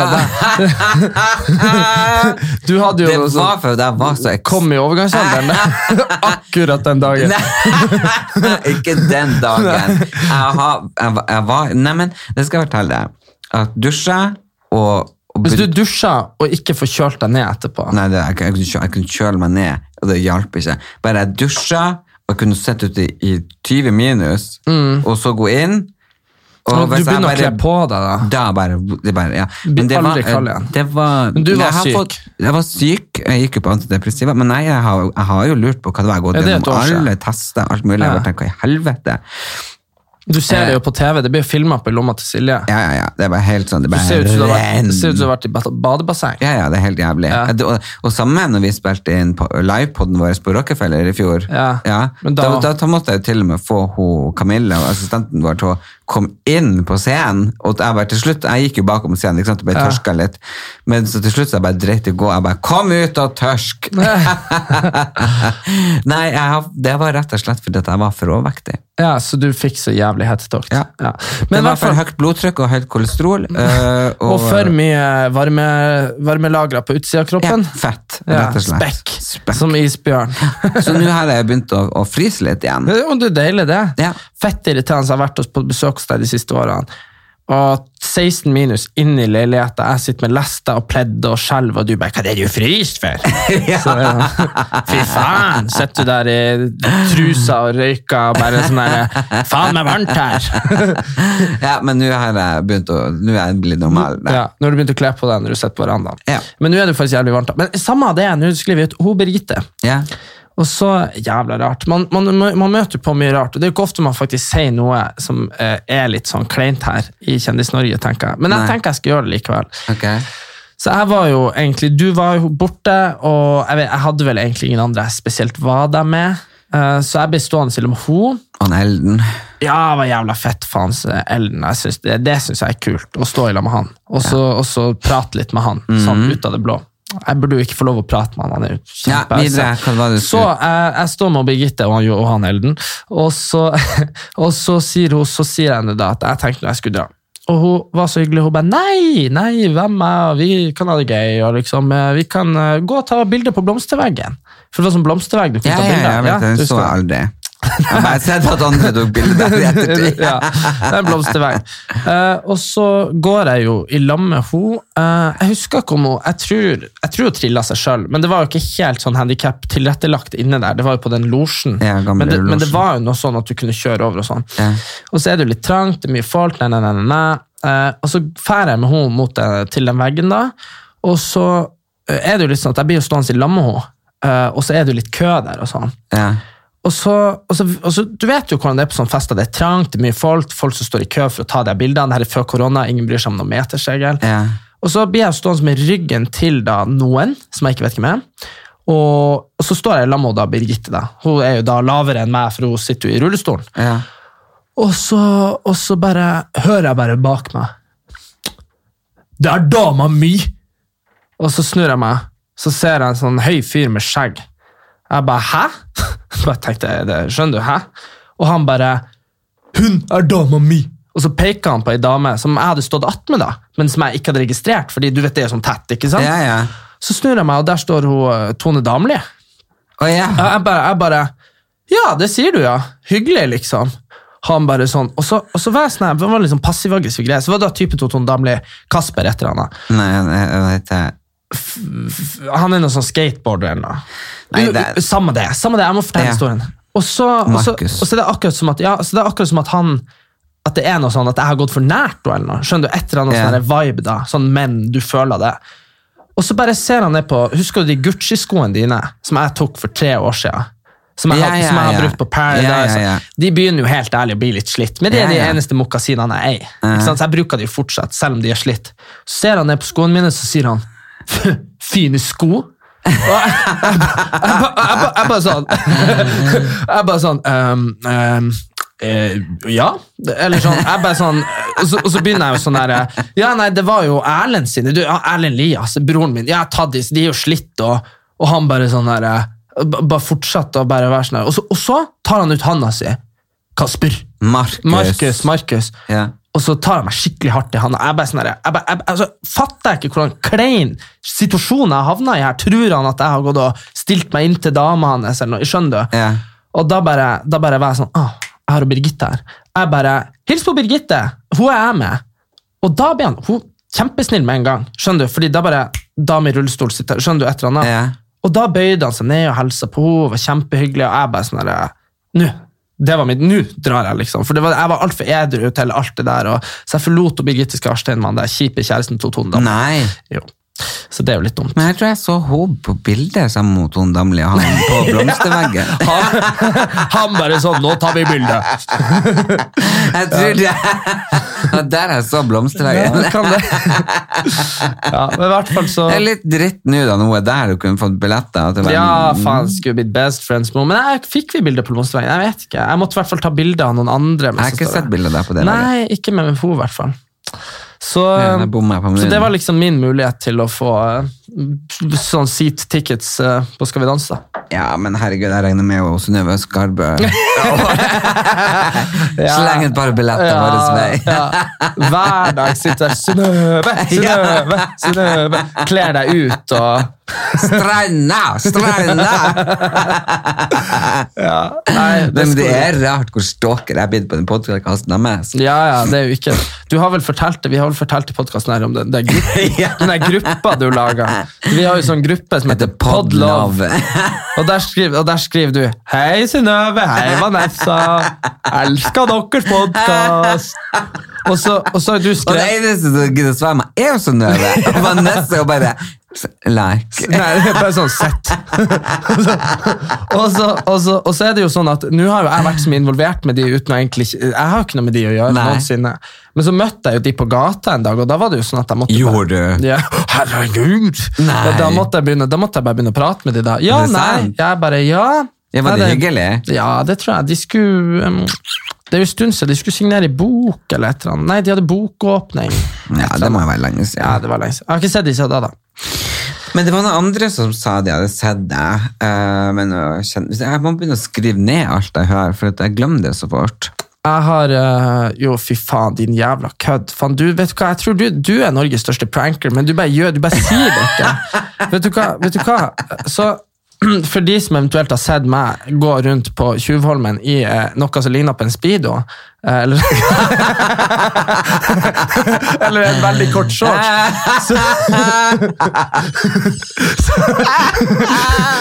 S2: ja.
S1: deg? Du hadde jo
S2: Det
S1: noe
S2: var
S1: sånn
S2: for jeg var så eks-
S1: Kom i overgangsalderen. Akkurat den dagen.
S2: Nei, ikke den dagen. Jeg, har, jeg, var- jeg var Nei, men det skal jeg fortelle deg. At dusja og, og
S1: Hvis du dusja og ikke får kjølt deg ned etterpå
S2: Nei, det, jeg, jeg, kunne kjø- jeg kunne kjøle meg ned, og det hjalp ikke. Bare jeg dusja og jeg kunne sitte ute i, i 20 minus, og så gå inn.
S1: og Mm. Du
S2: hvis jeg
S1: begynner å kle
S2: bare-
S1: på deg, da.
S2: Da bare, det bare ja.
S1: Blir
S2: det
S1: aldri kald igjen.
S2: Det var,
S1: Men du var
S2: jeg har
S1: syk.
S2: jeg var syk, jeg gikk jo på antidepressiva, men nei, jeg har, jeg har jo lurt på hva det var. Jeg har gått
S1: Ja, det er et
S2: gjennom
S1: år siden.
S2: alle tester, alt mulig. Jeg
S1: Ja.
S2: bare tenker, hva i helvete?
S1: Du ser det jo på TV. Det blir jo filma på lomma til Silje.
S2: Ja, ja, ja. Det er bare helt sånn, det
S1: Du
S2: er bare
S1: ser ut som du har vært,
S2: renn.
S1: det ser ut som du har vært i bad- badebasseng.
S2: Ja, ja, det er helt jævlig.
S1: Ja.
S2: Det- Og, og samme når vi spilte inn på livepoden vår på Rockefeller i fjor.
S1: Ja, men
S2: Da,
S1: da-
S2: da, måtte jeg jo til og med få ho, Camilla, assistenten vår, til å kom inn på scenen, og jeg bare til slutt, jeg gikk jo bakom scenen, ikke sant, og bare
S1: Ja.
S2: tørska litt, men så til slutt så jeg bare dreit i å gå, jeg bare, kom ut og tørsk! Nei, jeg, har- det var rett og slett fordi at jeg var for overvektig.
S1: Ja, så du fikk så jævlig hetetokt.
S2: Ja.
S1: Men
S2: det
S1: i
S2: var
S1: hvert
S2: for
S1: fall
S2: høyt blodtrykk og høyt kolesterol. øh, og,
S1: Og for mye varme, varmelagra på utsida av
S2: ja,
S1: kroppen.
S2: fett,
S1: Sånn. Ja,
S2: rett og slett.
S1: spekk, Sånn- som isbjørn.
S2: Så nå har jeg begynt å, å fryse litt igjen.
S1: Det er jo det er deilig, det.
S2: Ja.
S1: Fett irriterende. Jeg har vært hos- på besøk hos deg de siste årene. Og 16 minus inn i leiligheten, jeg sitter med lester og pledd og skjelver, og du bare 'Hva er det du fryser for?' Så, ja. Fy faen! Sitter du der i trusa og røyker og bare sånn der 'Faen meg varmt her'.
S2: Ja, men nå har jeg begynt å Nå er jeg blitt normal.
S1: Ja, når du begynte å kle på deg når du sitter på verandaen.
S2: Ja.
S1: Men nå er det faktisk jævlig varmt. da. Men samme av det, nå skriver vi ut hun Birgitte.
S2: Ja.
S1: Og så, jævla rart, man, man, man møter jo på mye rart, og det er jo ikke ofte man faktisk sier noe som eh, er litt sånn kleint her i Kjendis-Norge, tenker jeg. Men jeg
S2: Nei.
S1: tenker jeg skal gjøre det likevel.
S2: Ok.
S1: Så jeg var jo egentlig, du var jo borte, og jeg, vet, jeg hadde vel egentlig ingen andre jeg spesielt var der med, Eh, så jeg ble stående til og med hun.
S2: Han Elden.
S1: Ja, det var jævla fett, faen, så Ellen, jeg synes, det, det synes jeg er kult, å stå i lag med han, og så, og så prate litt med han, sånn ut av det blå. Jeg burde jo ikke få lov å prate med han, han er jo
S2: Mhm. Ja,
S1: kjempe-
S2: videre. Hva var det du
S1: så
S2: skulle
S1: jeg, jeg står med Birgitte og han, Jo- og han Elden, og så, og så sier hun så sier jeg henne da at jeg tenkte når jeg skulle dra. Og hun var så hyggelig. Hun bare 'Nei, nei, hvem er Vi kan ha det gøy. og liksom, eh, Vi kan eh, gå og ta bilder på blomsterveggen. For det var sånn blomstervegg du kunne
S2: Ja,
S1: ta
S2: ja,
S1: bilder
S2: ja, jeg
S1: av.
S2: vet,
S1: du
S2: den så
S1: husker
S2: jeg aldri. Jeg har bare sett at andre tok bilde der i ettertid.
S1: ja, det er en blomstervegg. Eh, og så går jeg jo i lag med henne. jeg husker ikke om hun Jeg tror, jeg tror hun trilla seg sjøl, men det var jo ikke helt sånn handikap tilrettelagt inne der. Det var jo på den losjen.
S2: Ja, gamle
S1: men, det- men det
S2: losjen.
S1: var jo noe sånn at du kunne kjøre over og sånn.
S2: Ja.
S1: Og så er det jo litt trangt, det er mye folk, nei, nei, nei, nei, nei. Eh, og så drar jeg med henne mot eh, til den veggen, da. Og så eh, er det jo litt sånn at jeg blir jo stående i lag med henne, eh, og så er det jo litt kø der og sånn.
S2: Ja.
S1: Og så, og, så, og så, Du vet jo hvordan det er på sånne fester. Det er trangt, det er mye folk, folk som står i kø for å ta de bildene. Dette er før korona, ingen bryr seg om noen metersregel.
S2: Ja.
S1: Og så blir jeg stående med ryggen til da noen, som jeg ikke vet hvem er. Og, og så står jeg i lag med da Birgitte. da. Hun er jo da lavere enn meg, for hun sitter jo i rullestolen.
S2: Ja.
S1: Og så, og så bare hører jeg bare bak meg Det er dama mi! Og så snur jeg meg, så ser jeg en sånn høy fyr med skjegg. Jeg bare Hæ? Bare tenkte jeg, det, Skjønner du? Hæ? Og han bare Hun er dama mi! Og så peker han på ei dame som jeg hadde stått attmed, da, men som jeg ikke hadde registrert. fordi du vet det er jo sånn tett, ikke sant?
S2: ja, ja.
S1: Så snur jeg meg, og der står hun eh, Tone Damli.
S2: Å ja.
S1: Jeg jeg bare, jeg bare Ja, det sier du, ja. Hyggelig, liksom. Han bare sånn, Og så, og så var jeg sånn, her, det var litt sånn passiv-aggressiv greie. Så var det da type 2 Tone Damli, Kasper et eller annet.
S2: Nei, hva heter jeg?
S1: Han er noe sånn skateboarder eller noe.
S2: Nei,
S1: U-
S2: det-
S1: u- Samme det, samme det, jeg må fortelle
S2: Ja.
S1: historien. Og så, og, så, og
S2: Markus.
S1: så er det akkurat som at, ja, så det er akkurat som at han at det er noe sånn at jeg har gått for nært henne, eller noe. Skjønner du? Et eller annet
S2: Ja.
S1: sånn der vibe, da. Sånn men du føler det. Og så bare ser han ned på Husker du de Gucci-skoene dine som jeg tok for tre år siden? Som jeg,
S2: Ja,
S1: har-
S2: ja,
S1: som jeg har
S2: ja.
S1: brukt på Paradise.
S2: Ja, ja, ja.
S1: De begynner jo helt ærlig å bli litt slitt, men det er
S2: Ja, ja.
S1: de eneste mokasinene jeg eier. Ikke sant? Så jeg bruker de fortsatt, selv om de er slitt. Så ser han ned på skoene mine, så sier han «Fy, Fine sko. Og jeg, jeg, ba- jeg, ba- jeg, ba- jeg bare sånn Jeg bare sånn «Ehm, ehm, eh, ja, eller sånn Jeg bare sånn Og så, og så begynner jeg jo sånn der eh, Ja, nei, det var jo Erlend sine. Du, ja, Erlend Lias, broren min. Ja, Taddis, de er jo slitt, og, og han bare sånn der eh, ba- Bare fortsatte å bare være sånn her. Og så, og så tar han ut handa si. Kasper.
S2: Markus.
S1: Markus, Markus.
S2: Ja.
S1: Og så tar jeg meg skikkelig hardt i handa. Jeg bare sånn der, jeg bare, jeg, altså, fatter jeg ikke hvordan klein situasjon jeg havna i her. Tror han at jeg har gått og stilt meg inn til dama hans? eller noe, skjønner du?
S2: Ja.
S1: Og da bare, da bare var jeg sånn ah, Jeg har jo Birgitte her. Jeg bare Hils på Birgitte! Hun er jeg med. Og da ble han hun, kjempesnill med en gang. Skjønner du? Fordi da bare Dame i rullestol sitter Skjønner du? Et eller annet.
S2: Ja.
S1: Og da bøyde han seg ned og hilsa på henne, var kjempehyggelig, og jeg bare sånn der, Nå! Det var mitt, Nå drar jeg, liksom. For det var, jeg var altfor edru til alt det der. Og, så jeg forlot hun Birgitte Skarstein med han der kjipe kjæresten til Tone. Damli.
S2: Nei.
S1: Jo. Så det er jo litt dumt.
S2: Men jeg tror jeg så henne på bildet sammen mot hun Damli og han på blomsterveggen.
S1: Han, han bare sånn 'Nå tar vi bildet'.
S2: Jeg tror det at Der jeg så blomsterveggen.
S1: Ja, kan det. Ja, men i hvert fall så
S2: Det er litt dritt nå da noe der du kunne fått billetter. at det var-
S1: Ja, faen, altså, skulle blitt best friends med henne. Men jeg fikk vi bilde på Blomsterveien? Jeg vet ikke. Jeg måtte i hvert fall ta bilde av noen andre.
S2: Jeg har ikke sett bildet der på det. laget.
S1: Nei, ikke med henne, i hvert fall. Så,
S2: Ja, da bommer jeg på
S1: så
S2: min.
S1: det var liksom min mulighet til å få eh, sånn seat tickets eh, på Skal vi danse.
S2: Ja, men herregud, jeg regner med jo Synnøve Skarbø. Sleng et par billetter våre vei.
S1: ja. Hver dag sitter jeg Synnøve, Synnøve, Synnøve. Kler deg ut og
S2: Stranda! Stranda!
S1: Nei,
S2: Det, men
S1: skal
S2: det
S1: vi-
S2: er rart hvor stalker jeg er blitt på den podkasten deres.
S1: Ja, ja, det er jo ikke Du har vel fortalt det, Vi har vel fortalt i podkasten her om den, den, gruppen, den der gruppa du laga. Vi har jo sånn gruppe som heter
S2: Heter Podlove.
S1: Podlove. Og der, skriver, og der skriver du 'Hei, Synnøve. Hei, Vanessa. Elsker deres podkast'. Og så, og så har du
S2: Og det
S1: skrevet
S2: eneste som gidder svare meg, er jo Synnøve. Og Vanessa og bare like.
S1: Nei, det er bare sånn sett. og, så, og, så, og så er det jo sånn at nå har jo jeg vært så mye involvert med de uten å egentlig ikke- Jeg har jo ikke noe med de å gjøre
S2: Nei.
S1: noensinne. Men så møtte jeg jo de på gata en dag, og da var det jo sånn at jeg måtte bare-
S2: Gjorde du?
S1: Ja. Herregud!
S2: Nei.
S1: Da, da, måtte jeg begynne, da måtte jeg bare begynne å prate med de da. Ja,
S2: Er det
S1: nei.
S2: sant?
S1: Jeg bare ja.
S2: Ja, var
S1: Nei,
S2: det hyggelig?
S1: Ja, det tror jeg. De skulle um, Det er jo en stund siden de skulle signere i bok eller et eller annet. Nei, de hadde bokåpning.
S2: Ja, det må jo være lenge siden.
S1: Ja, det var lenge siden. Jeg har ikke sett de siden da, da.
S2: Men det var noen andre som sa de hadde sett deg. eh, men jeg kjenner- jeg må begynne å skrive ned alt jeg hører, for at jeg glemmer det så fort.
S1: Jeg har øh, Jo, fy faen, din jævla kødd. Faen, du, vet du hva? Jeg tror du, du er Norges største pranker, men du bare gjør, du bare sier det ikke. vet, du hva? vet du hva? Så for de som eventuelt har sett meg gå rundt på Tjuvholmen i eh, noe som ligner på en Speedo, eh, eller, eller en veldig kort shorts, så,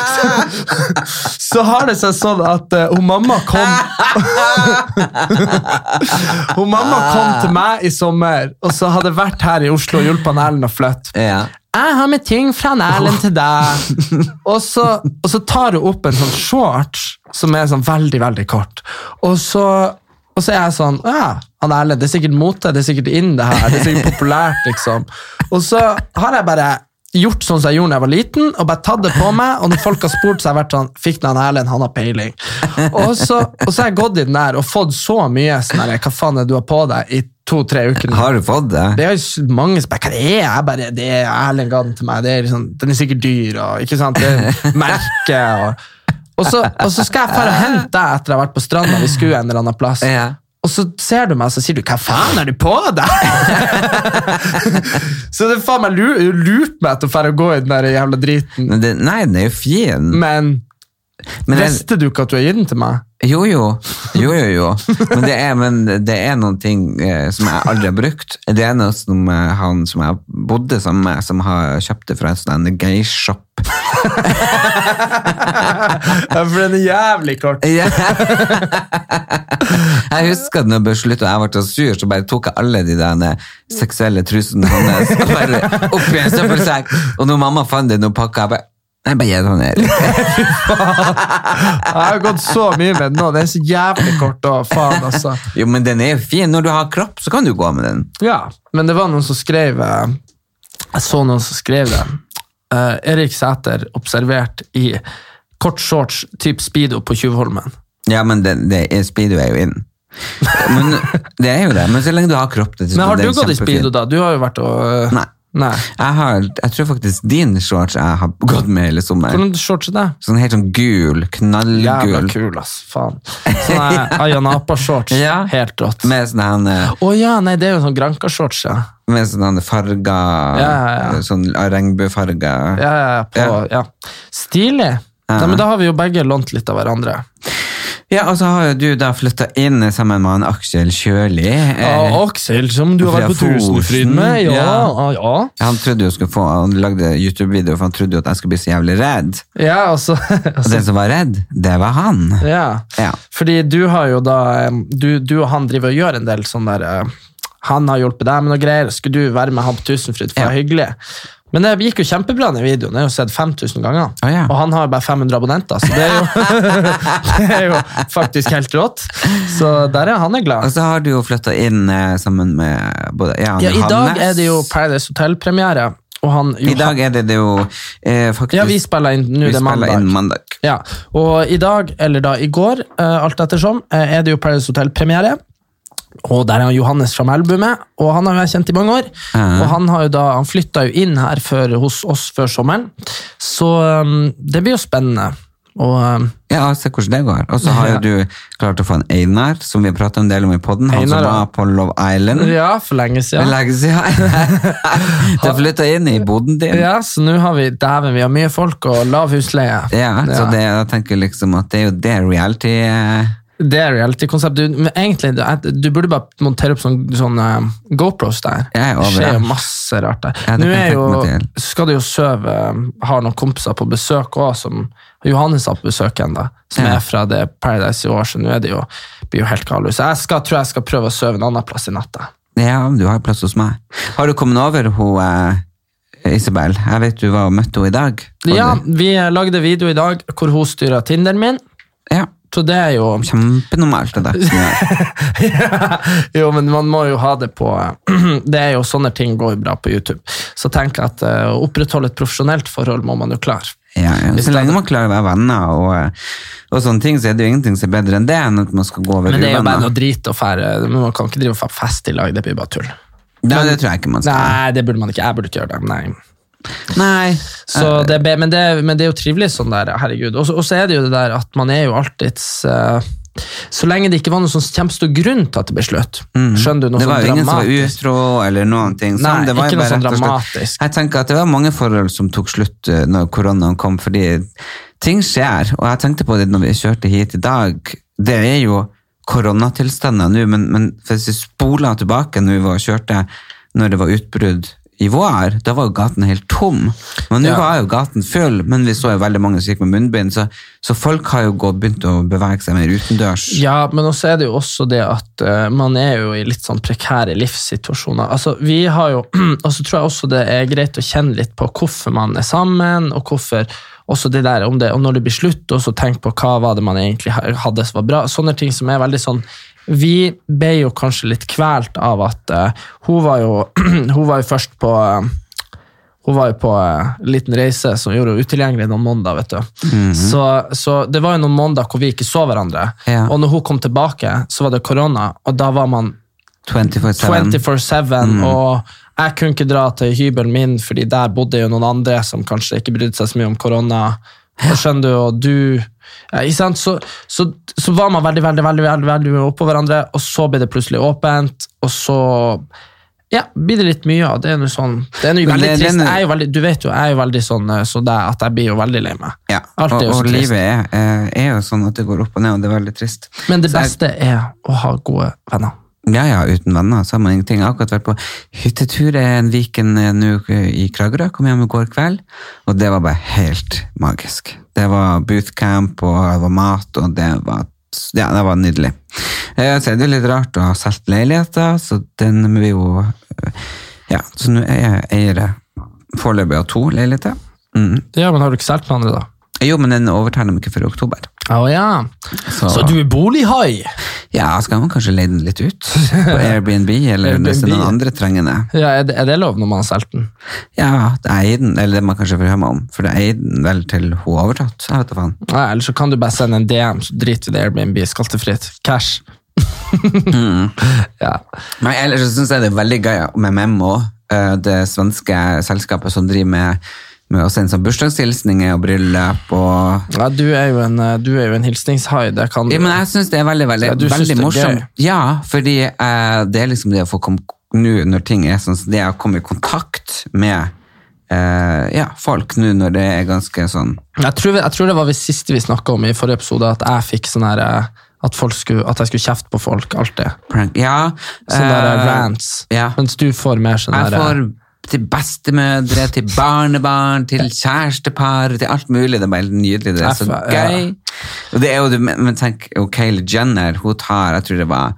S1: så, så, så har det seg sånn at eh, hun mamma kom Hun mamma kom til meg i sommer, og så hadde jeg vært her i Oslo og hjulpet han Erlend å flytte.
S2: Ja.
S1: Jeg har med ting fra han Erlend til deg. Og så, og så tar hun opp en sånn shorts som er sånn veldig, veldig kort. Og så, og så er jeg sånn Ja, han Erlend, det er sikkert mote, det er sikkert inn, det her. Det er sikkert populært, liksom. Og så har jeg bare gjort sånn som jeg gjorde da jeg var liten, og bare tatt det på meg. Og når folk har spurt, så har jeg vært sånn Fikk den han Erlend, han har peiling. Og så, og så har jeg gått i den der og fått så mye sånn her, Hva faen er det du har på deg? i to-tre uker. nå?»
S2: Har du fått det?
S1: Det er jo s- mange som bare Hva det er jeg bare Det er Erlend ga den til meg. Det er liksom, den er sikkert dyr, og ikke sant? Det er merke og og så, og så skal jeg fare og hente deg etter jeg har vært på stranda. Vi skulle en eller annen plass.
S2: Ja.
S1: Og så ser du meg og så sier du, 'hva faen er du på deg?' så det er faen meg lu- lurt meg til å fære og gå i den der jævla driten.
S2: Men det? Mm. Nei, den er jo fin.
S1: Men,
S2: Men jeg-
S1: visste du ikke at du har gitt den til meg?
S2: Jo, jo. Jo, jo, jo. Men det er, men det er noen ting eh, som jeg aldri har brukt. Det er noe som eh, han som jeg bodde sammen med, som har kjøpt det fra en sånn gay-shop.
S1: Ja, for den er jævlig kort.
S2: Ja. Jeg husker at når jeg ble slutt og jeg ble så sur, så bare tok jeg alle de der eh, seksuelle trusene hans og bare opp i en søppelsekk. Og når mamma fant det, nå pakka jeg bare Nei, bare gi den her.
S1: Jeg har gått så mye med den nå. Den er så jævlig kort. Å, faen, altså.
S2: Jo, men den er jo fin. Når du har kropp, så kan du gå med den.
S1: Ja, men det var noen som skrev eh, Jeg så noen som skrev det. Eh, Erik Sæter observert i kort shorts type speedo på Tjuvholmen.
S2: Ja, men det, det er, speedo er jo inn. Men det er jo det. Men så lenge du har kropp til
S1: Men har du gått i speedo, da? Du har jo vært og eh,
S2: Nei. Jeg, har, jeg tror faktisk din shorts jeg har gått med hele sommeren.
S1: Hvordan shorts er det?
S2: Sånn helt sånn gul,
S1: Jævla
S2: knallgul.
S1: kul, ass. Faen. Sånn Sånne Ayanapa-shorts.
S2: Ja.
S1: Helt rått. Å
S2: Med sånn her eh,
S1: ja, nei, det er jo sånn Granka-shorts, ja.
S2: Med sånne farger,
S1: Ja, ja, ja.
S2: sånn regnbuefarger.
S1: Ja, ja, ja, på, ja. Stilig.
S2: Ja.
S1: Nei, men da har vi jo begge lånt litt av hverandre.
S2: Ja, og så har jo du da flytta inn sammen med han Aksel Kjøli. Eh,
S1: Ja, Aksel, som du har vært på
S2: Fra Fosen.
S1: Tusenfryd med. Ja,
S2: Ja.
S1: ja. ja.
S2: Han trodde jo skulle få, han lagde YouTube-video, for han trodde jo at jeg skulle bli så jævlig redd.
S1: Ja, altså,
S2: Og den som var redd, det var han.
S1: ja.
S2: Ja.
S1: Fordi du har jo da em, du, du og han driver og gjør en del sånn der eh, Han har hjulpet deg med noe greier, skulle du være med han på Tusenfryd? For det var hyggelig. Men det gikk jo kjempebra, den videoen. Jeg har jo sett 5000 ganger.
S2: Å, ja.
S1: Og han har jo bare 500 abonnenter, så det er jo, det er jo faktisk helt rått. Så der er han er glad.
S2: Og så har du jo flytta inn eh, sammen med både ja,
S1: Ja, I dag
S2: Johannes.
S1: er det jo Paradise Hotel-premiere, og han
S2: I dag er det det jo eh, faktisk
S1: Ja, vi spiller inn nå, det er
S2: vi spiller
S1: mandag.
S2: inn mandag.
S1: Ja, og i dag, eller da i går, eh, alt ettersom, eh, er det jo Paradise Hotel-premiere. Og der er han Johannes fra Melbu med, og han har jo jeg kjent i mange år.
S2: Ja.
S1: Og han, har jo da, han flytta jo inn her før, hos oss før sommeren, så um, det blir jo spennende. Og um,
S2: Ja, og se hvordan det går. Og så har jo
S1: Ja.
S2: du klart å få en Einar, som vi har pratet en del om i podden. Han
S1: Einar,
S2: som
S1: ja.
S2: var på Love Island.
S1: ja, for lenge
S2: Mm. Det er
S1: siden.
S2: lenge siden. Det flytta inn i boden din.
S1: Ja, så nå har vi dæven, vi har mye folk og lav husleie.
S2: Ja, så det, jeg tenker liksom at det er jo det reality eh,
S1: Det er reality-konsept. Du, men egentlig, du, jeg- du burde bare montere opp sånn, sånn eh, GoPros der.
S2: Jeg er
S1: det
S2: over
S1: skjer
S2: det.
S1: jo masse rart der.
S2: Ja, det
S1: Nå
S2: kan
S1: er
S2: jeg
S1: jo,
S2: tenke meg til.
S1: skal du jo søve, eh, har noen kompiser på besøk også, som Johannes har på besøk enda, som
S2: Ja.
S1: er fra det Paradise i år, så nå er det jo, blir jo helt galus. Så jeg skal, tror jeg skal prøve å søve en annen plass i natta.
S2: Ja, men du har plass hos meg. Har du kommet over hun eh, Isabel? Jeg vet du var og møtte henne i dag. Har
S1: Ja,
S2: du-
S1: vi lagde video i dag hvor hun styrer Tinderen min,
S2: ja.
S1: så det er jo
S2: Kjempenormalt av deg. som gjør.
S1: jo, men man må jo ha det på Det er jo sånne ting går bra på YouTube. Så tenk at eh, å opprettholde et profesjonelt forhold må man jo klare.
S2: Ja, ja.
S1: Hvis
S2: Så
S1: det
S2: lenge man klarer å være venner og, eh, og sånne ting, så er det jo ingenting som er bedre enn det enn at man skal gå over
S1: Men det er jo bare noe
S2: uvenner.
S1: drit å fære. Men man kan ikke drive og fa- fest i lag. Det blir bare tull.
S2: Nei, det tror jeg ikke man skal.
S1: Nei, det burde man ikke. Jeg burde ikke gjøre det. Nei.
S2: Nei.
S1: Så det, er be- men, det, men det er jo trivelig sånn der, herregud. Og så- og så er det jo det der at man er jo alltids eh, Så lenge det ikke var noen sånn kjempestor grunn til at det ble slutt. Skjønner du? Noe
S2: Mm. det var
S1: sånn
S2: jo ingen som var
S1: dramatisk.
S2: utro eller noen ting. sånn.
S1: Nei,
S2: det var
S1: ikke
S2: jo bare
S1: noe sånn
S2: rett og slett-
S1: dramatisk.
S2: Jeg tenker at det var mange forhold som tok slutt eh, når koronaen kom, fordi ting skjer. Og jeg tenkte på det når vi kjørte hit i dag. Det er jo koronatilstander nå, men, men hvis vi spoler tilbake når vi var og kjørte når det var utbrudd i vår, da var jo gaten helt tom. Men nå
S1: Ja.
S2: var jo gaten full, men vi så jo veldig mange som gikk med munnbind, så, så folk har jo gått, begynt å bevege seg mer utendørs.
S1: Ja, men også er det jo også det at eh, man er jo i litt sånn prekære livssituasjoner. Altså, vi har jo, Og så tror jeg også det er greit å kjenne litt på hvorfor man er sammen, og hvorfor også det der, om det, og når det blir slutt, og så tenk på hva var det man egentlig ha- hadde som var bra. Sånne ting som er veldig sånn Vi ble jo kanskje litt kvelt av at eh, hun, var jo, hun var jo først på eh, hun var jo på eh, en liten reise som gjorde henne utilgjengelig noen måneder. vet du. så, så det var jo noen måneder hvor vi ikke så hverandre.
S2: Ja.
S1: Og når hun kom tilbake, så var det korona, og da var man
S2: 24-7.
S1: 24-7.
S2: Mm.
S1: Og jeg kunne ikke dra til hybelen min, fordi der bodde jo noen andre som kanskje ikke brydde seg så mye om korona. Og skjønner du, og du ja, ikke sant? Så, så, så var man veldig, veldig, veldig, veldig, veldig mye oppå hverandre, og så ble det plutselig åpent, og så ja, blir det litt mye av det. er noe sånn, det er noe
S2: Men
S1: veldig
S2: det-
S1: trist.
S2: den-
S1: Jeg er jo veldig, du vet jo, jeg er jo veldig sånn eh, så der, at jeg blir jo veldig lei meg.
S2: Ja,
S1: Alt
S2: og,
S1: er jo så
S2: og
S1: trist.
S2: livet er, eh, er jo sånn at det går opp og ned, og det er veldig trist.
S1: Men det
S2: Så jeg-
S1: beste er å ha gode venner.
S2: Ja, ja, uten venner så har man ingenting. Jeg har akkurat vært på hyttetur en Viken eh, nå eh, i Kragerø, kom hjem i går kveld, og det var bare helt magisk. Det var bootcamp, og det var mat, og det var, ja, det var nydelig. Eh, Så er det jo litt rart å ha solgt leiligheter, så den må vi jo eh, Ja, så nå er jeg eiere foreløpig av to leiligheter. Mm.
S1: Ja, men har du ikke solgt med andre, da?
S2: Jo, men den overtar dem ikke før i oktober.
S1: Å ja.
S2: Så-
S1: Så du er bolighai?
S2: Ja, skal man kanskje leie den litt ut på Airbnb, eller hvis det er noen andre trengende.
S1: Ja, er, det, er det lov når man har solgt den?
S2: Ja, det eier den, eller det man kanskje får høre meg om, for det eier den vel til hun har overtatt. Jeg vet da faen.
S1: Nei, eller så kan du bare sende en DM, så driter vi i det Airbnb. Skattefritt. Cash.
S2: Mm.
S1: ja.
S2: Men ellers så synes jeg det er veldig gøy med Memmo, eh, det svenske selskapet som driver med, med å sende sånn bursdagshilsninger og bryllup og...
S1: ja, du er jo en, eh, du er jo en hilsningshai. Det kan du.
S2: Ja, men jeg synes det er veldig, veldig,
S1: Ja, du synes
S2: veldig
S1: det er
S2: morsomt.
S1: gøy.
S2: Ja, fordi eh, det er liksom det å få komme, nå når ting er sånn, så det å komme i kontakt med eh, ja, folk nå når det er ganske sånn
S1: Jeg tror, jeg tror det var det siste vi snakka om i forrige episode, at jeg fikk sånn her eh, at, folk skulle, at jeg skulle kjefte på folk alltid.
S2: prank. Ja.
S1: Sånne der eh,
S2: eh,
S1: rants.
S2: ja.
S1: Mens du får mer sånn
S2: Jeg
S1: der, eh,
S2: får til bestemødre, til barnebarn, til kjærestepar, til alt mulig. Det er bare helt nydelig. Det er så
S1: Jeg får- ja.
S2: gøy. Og det er jo, men men tenk, og Kylie Jenner, hun tar, jeg tror det var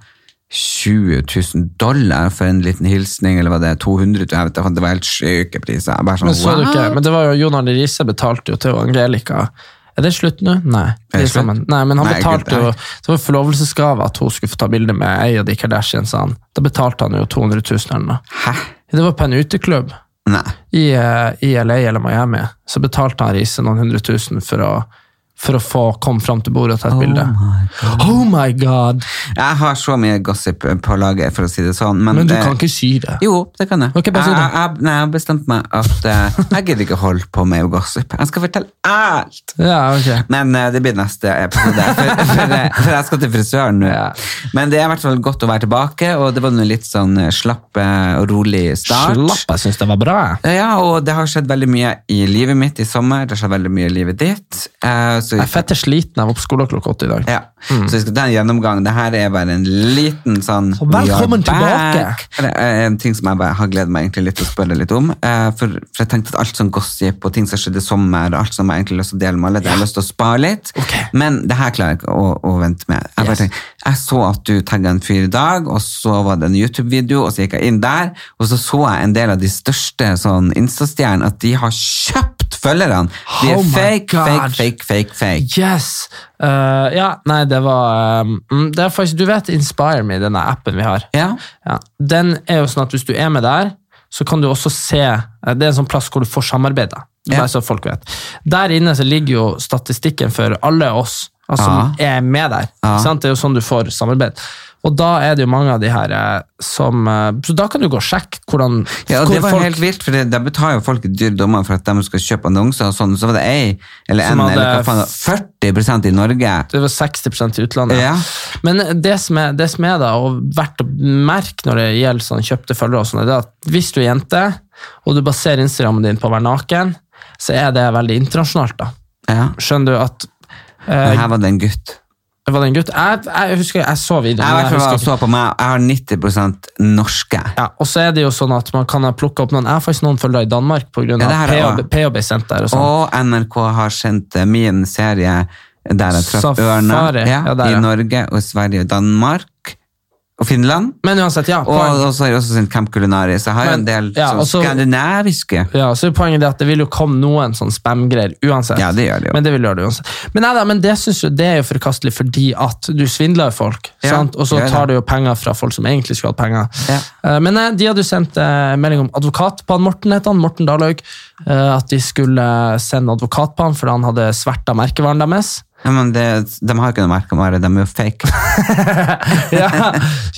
S2: 20 000 dollar for en liten hilsning, eller var det 200 000? Jeg vet ikke, det var helt syke priser. Jeg Bare sånn,
S1: Men så du
S2: wow.
S1: ikke, men det var jo Jon Arne Riise betalte jo til Angelica. Er det slutt nå? Nei. De
S2: Er det
S1: er sammen.
S2: slutt?
S1: Nei, men han
S2: Nei,
S1: betalte
S2: gud,
S1: jo
S2: nei.
S1: Det var forlovelsesgave at hun skulle få ta bilde med ei av de Kardashiansene. Da betalte han jo 200 000 eller noe.
S2: Hæ?
S1: Det var på en uteklubb
S2: Nei.
S1: i, eh, i LA eller Miami. Så betalte han Riise noen hundre tusen for å, for å få komme fram til bordet og ta et bilde. Oh my god!
S2: Jeg har så mye gossip på laget, for å si det sånn. Men,
S1: Men du
S2: det,
S1: kan ikke si det.
S2: Jo, det kan jeg.
S1: Ok, bare si det.
S2: Jeg, jeg, nei, jeg har bestemt meg at eh, jeg gidder ikke holde på med gossip. Jeg skal fortelle alt!
S1: Ja, ok.
S2: Men eh, det blir neste episode, for, for, eh, for jeg skal til frisøren nå. Men det er i hvert fall godt å være tilbake, og det var nå litt sånn eh, slapp eh, og rolig start.
S1: Slapp, jeg syns det var bra.
S2: Ja, og det har skjedd veldig mye i livet mitt i sommer, det har skjedd veldig mye i livet ditt. Eh, så,
S1: Jeg er fette sliten. Jeg var på skolen klokka åtte i dag.
S2: ja. så vi skal ta en gjennomgang. Dette er bare en liten sånn...
S1: Mm. Så velkommen
S2: we are
S1: tilbake.
S2: back. Det er en ting som jeg bare har gledet meg egentlig litt til å spørre litt om. eh, for, for jeg tenkte at alt sånn gossip og ting som skjedde i sommer, og alt som jeg egentlig har lyst til å dele med alle, det har jeg lyst til å spare litt.
S1: Ok.
S2: Men det her klarer jeg ikke å, å vente med. Jeg, bare
S1: Yes.
S2: tenker, jeg så at du tagget en fyr i dag, og så var det en YouTube-video, og så gikk jeg inn der, og så så jeg en del av de største sånn Insta-stjernene, at de har kjøpt følgerne. De
S1: Oh
S2: er
S1: my
S2: fake,
S1: God.
S2: fake, fake, fake, fake.
S1: Yes! Eh, ja, nei, det var um, mm, Det er faktisk, Du vet Inspire Me, denne appen vi har.
S2: Ja,
S1: Ja. Den er jo sånn at hvis du er med der, så kan du også se eh, Det er en sånn plass hvor du får samarbeide.
S2: Ja.
S1: Bare så folk vet. Der inne så ligger jo statistikken for alle oss altså, som er med der.
S2: Ja.
S1: Ikke sant? Det er jo sånn du får samarbeid. Og da er det jo mange av de her eh, som eh, Så da kan du gå og sjekke hvordan
S2: Ja, og
S1: hvor
S2: det var
S1: folk-
S2: helt vilt, for det- da betaler jo folk dyr dommer for at de skal kjøpe annonser og sånn, så var det ei, eller en,
S1: Som hadde
S2: eller hva faen, 40% i Norge.
S1: Det var 60 i utlandet.
S2: Ja.
S1: Men det som er, det som er da, og verdt å merke når det gjelder sånn kjøpte følgere, og sånn, er det at hvis du er jente, og du baserer Instagrammen din på å være naken, så er det veldig internasjonalt. da.
S2: Ja,
S1: Skjønner du at
S2: men
S1: eh,
S2: her var det en gutt.
S1: Var det en gutt? Jeg, jeg husker jeg så
S2: Jeg,
S1: videoen.
S2: i
S1: men
S2: hvert
S1: husker
S2: fall var og
S1: ikke-
S2: så på meg, jeg har 90% norske.
S1: ja, og så er det jo sånn at man kan ha plukket opp noen Jeg har faktisk noen følgere i Danmark pga.
S2: Ja, det her er
S1: av
S2: også.
S1: PHB senter. og sånn.
S2: Og NRK har sendt eh, min serie der jeg traff
S1: Safari.
S2: ørna ja,
S1: Ja, der, ja.
S2: i Norge og Sverige og Danmark og Finland.
S1: Men uansett, ja.
S2: Og
S1: poeng.
S2: og så har jeg også sendt Camp Culinaris. Jeg har jo
S1: Men-
S2: en del
S1: ja,
S2: sånn
S1: og så-
S2: skandinaviske.
S1: Ja, så er poenget det at det vil jo komme noen sånn spam-greier uansett.
S2: Ja, det gjør det jo.
S1: Men det vil gjøre det uansett. Men, nei, da, men det, synes jo, det er jo forkastelig fordi at du svindler jo folk,
S2: Ja,
S1: sant? og så
S2: det gjør
S1: tar
S2: det.
S1: du jo penger fra folk som egentlig skulle hatt penger.
S2: Ja.
S1: Eh, Men nei, de hadde jo sendt eh, melding om advokat på han Morten, het han, Morten Dahlhaug, eh, at de skulle sende advokat på han fordi han hadde sverta merkevaren deres.
S2: Ja, men det, de har jo ikke noe merkevare, de er jo fake.
S1: ja,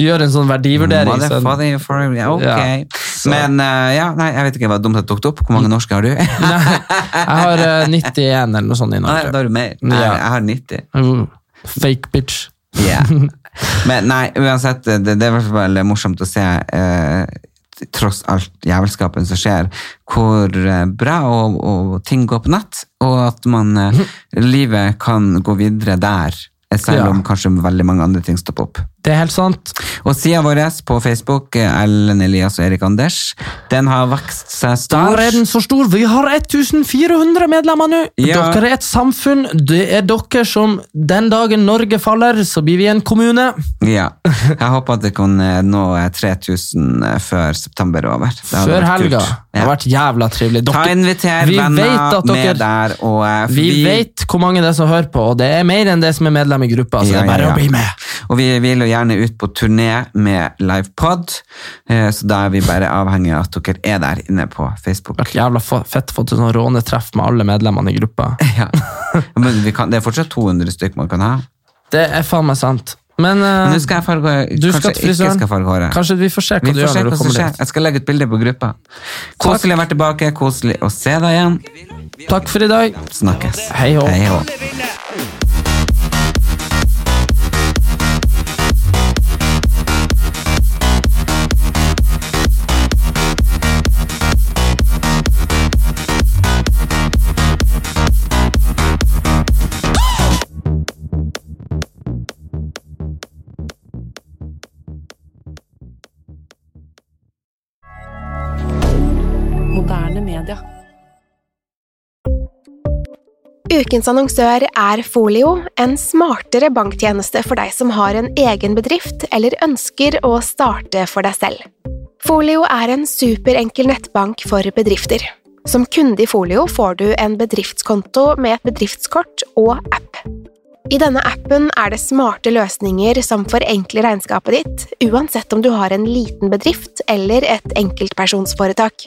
S1: gjør en sånn verdivurdering. sånn-
S2: Motherfucking for- ja, ok. Men eh, ja, nei, jeg vet ikke hva dumt jeg tok det opp. Hvor mange norske har du? Mm. Nei,
S1: Nei, jeg har eh, 91 eller noe sånt i Norge.
S2: da har du mer. Nei,
S1: Ja.
S2: jeg har 90.
S1: Uh, Fake bitch.
S2: Ja. Men nei, uansett, det, det er i hvert fall veldig morsomt å se, eh, tross alt jævelskapen som skjer, hvor eh, bra og, og ting går på nett, og at man, eh, livet kan gå videre der, selv
S1: Ja.
S2: om kanskje veldig mange andre ting stopper opp.
S1: Det er helt sant.
S2: Og sida vår på Facebook, eh, Ellen Elias og Erik Anders, den har vokst seg stor.
S1: Der er den så stor. Vi har 1400 medlemmer nå.
S2: Ja.
S1: Dere er et samfunn. Det er dere som Den dagen Norge faller, så blir vi en kommune.
S2: Ja. Jeg håper at det kan eh, nå eh, 3000 før september er over. Det hadde
S1: Før
S2: vært
S1: helga.
S2: kult.
S1: Det har vært jævla trivelig.
S2: Ta inviter
S1: vi vet
S2: venner
S1: at dere,
S2: med der, og eh,
S1: Vi vet hvor mange det er som hører på, og det er mer enn det som er medlem i gruppa. Så
S2: Ja,
S1: det er bare
S2: ja, ja.
S1: å bli med.
S2: Og vi vil jo gjerne ut på turné med livepod, eh, så da er vi bare avhengig av at dere er der inne på Facebook.
S1: Vært jævla fa- fett fått sånn rånetreff med alle medlemmene i gruppa.
S2: Ja. Men vi kan, det er fortsatt 200 stykk man kan ha.
S1: Det er faen meg sant. Men, eh,
S2: Men nå skal jeg farge håret.
S1: du skal til
S2: Kanskje ikke
S1: frisøren.
S2: skal farge håret.
S1: Kanskje vi får se hva
S2: Vi
S1: du
S2: får
S1: gjør
S2: se
S1: når
S2: hva
S1: du
S2: som
S1: kommer
S2: skjer.
S1: dit.
S2: Jeg skal legge ut bilde på gruppa. Koselig å være tilbake, koselig å se deg igjen.
S1: Takk for i dag.
S2: Snakkes.
S1: Hei hå.
S2: Hei hå.
S3: Ukens annonsør er Folio, en smartere banktjeneste for deg som har en egen bedrift eller ønsker å starte for deg selv. Folio er en superenkel nettbank for bedrifter. Som kunde i Folio får du en bedriftskonto med et bedriftskort og app. I denne appen er det smarte løsninger som forenkler regnskapet ditt, uansett om du har en liten bedrift eller et enkeltpersonsforetak.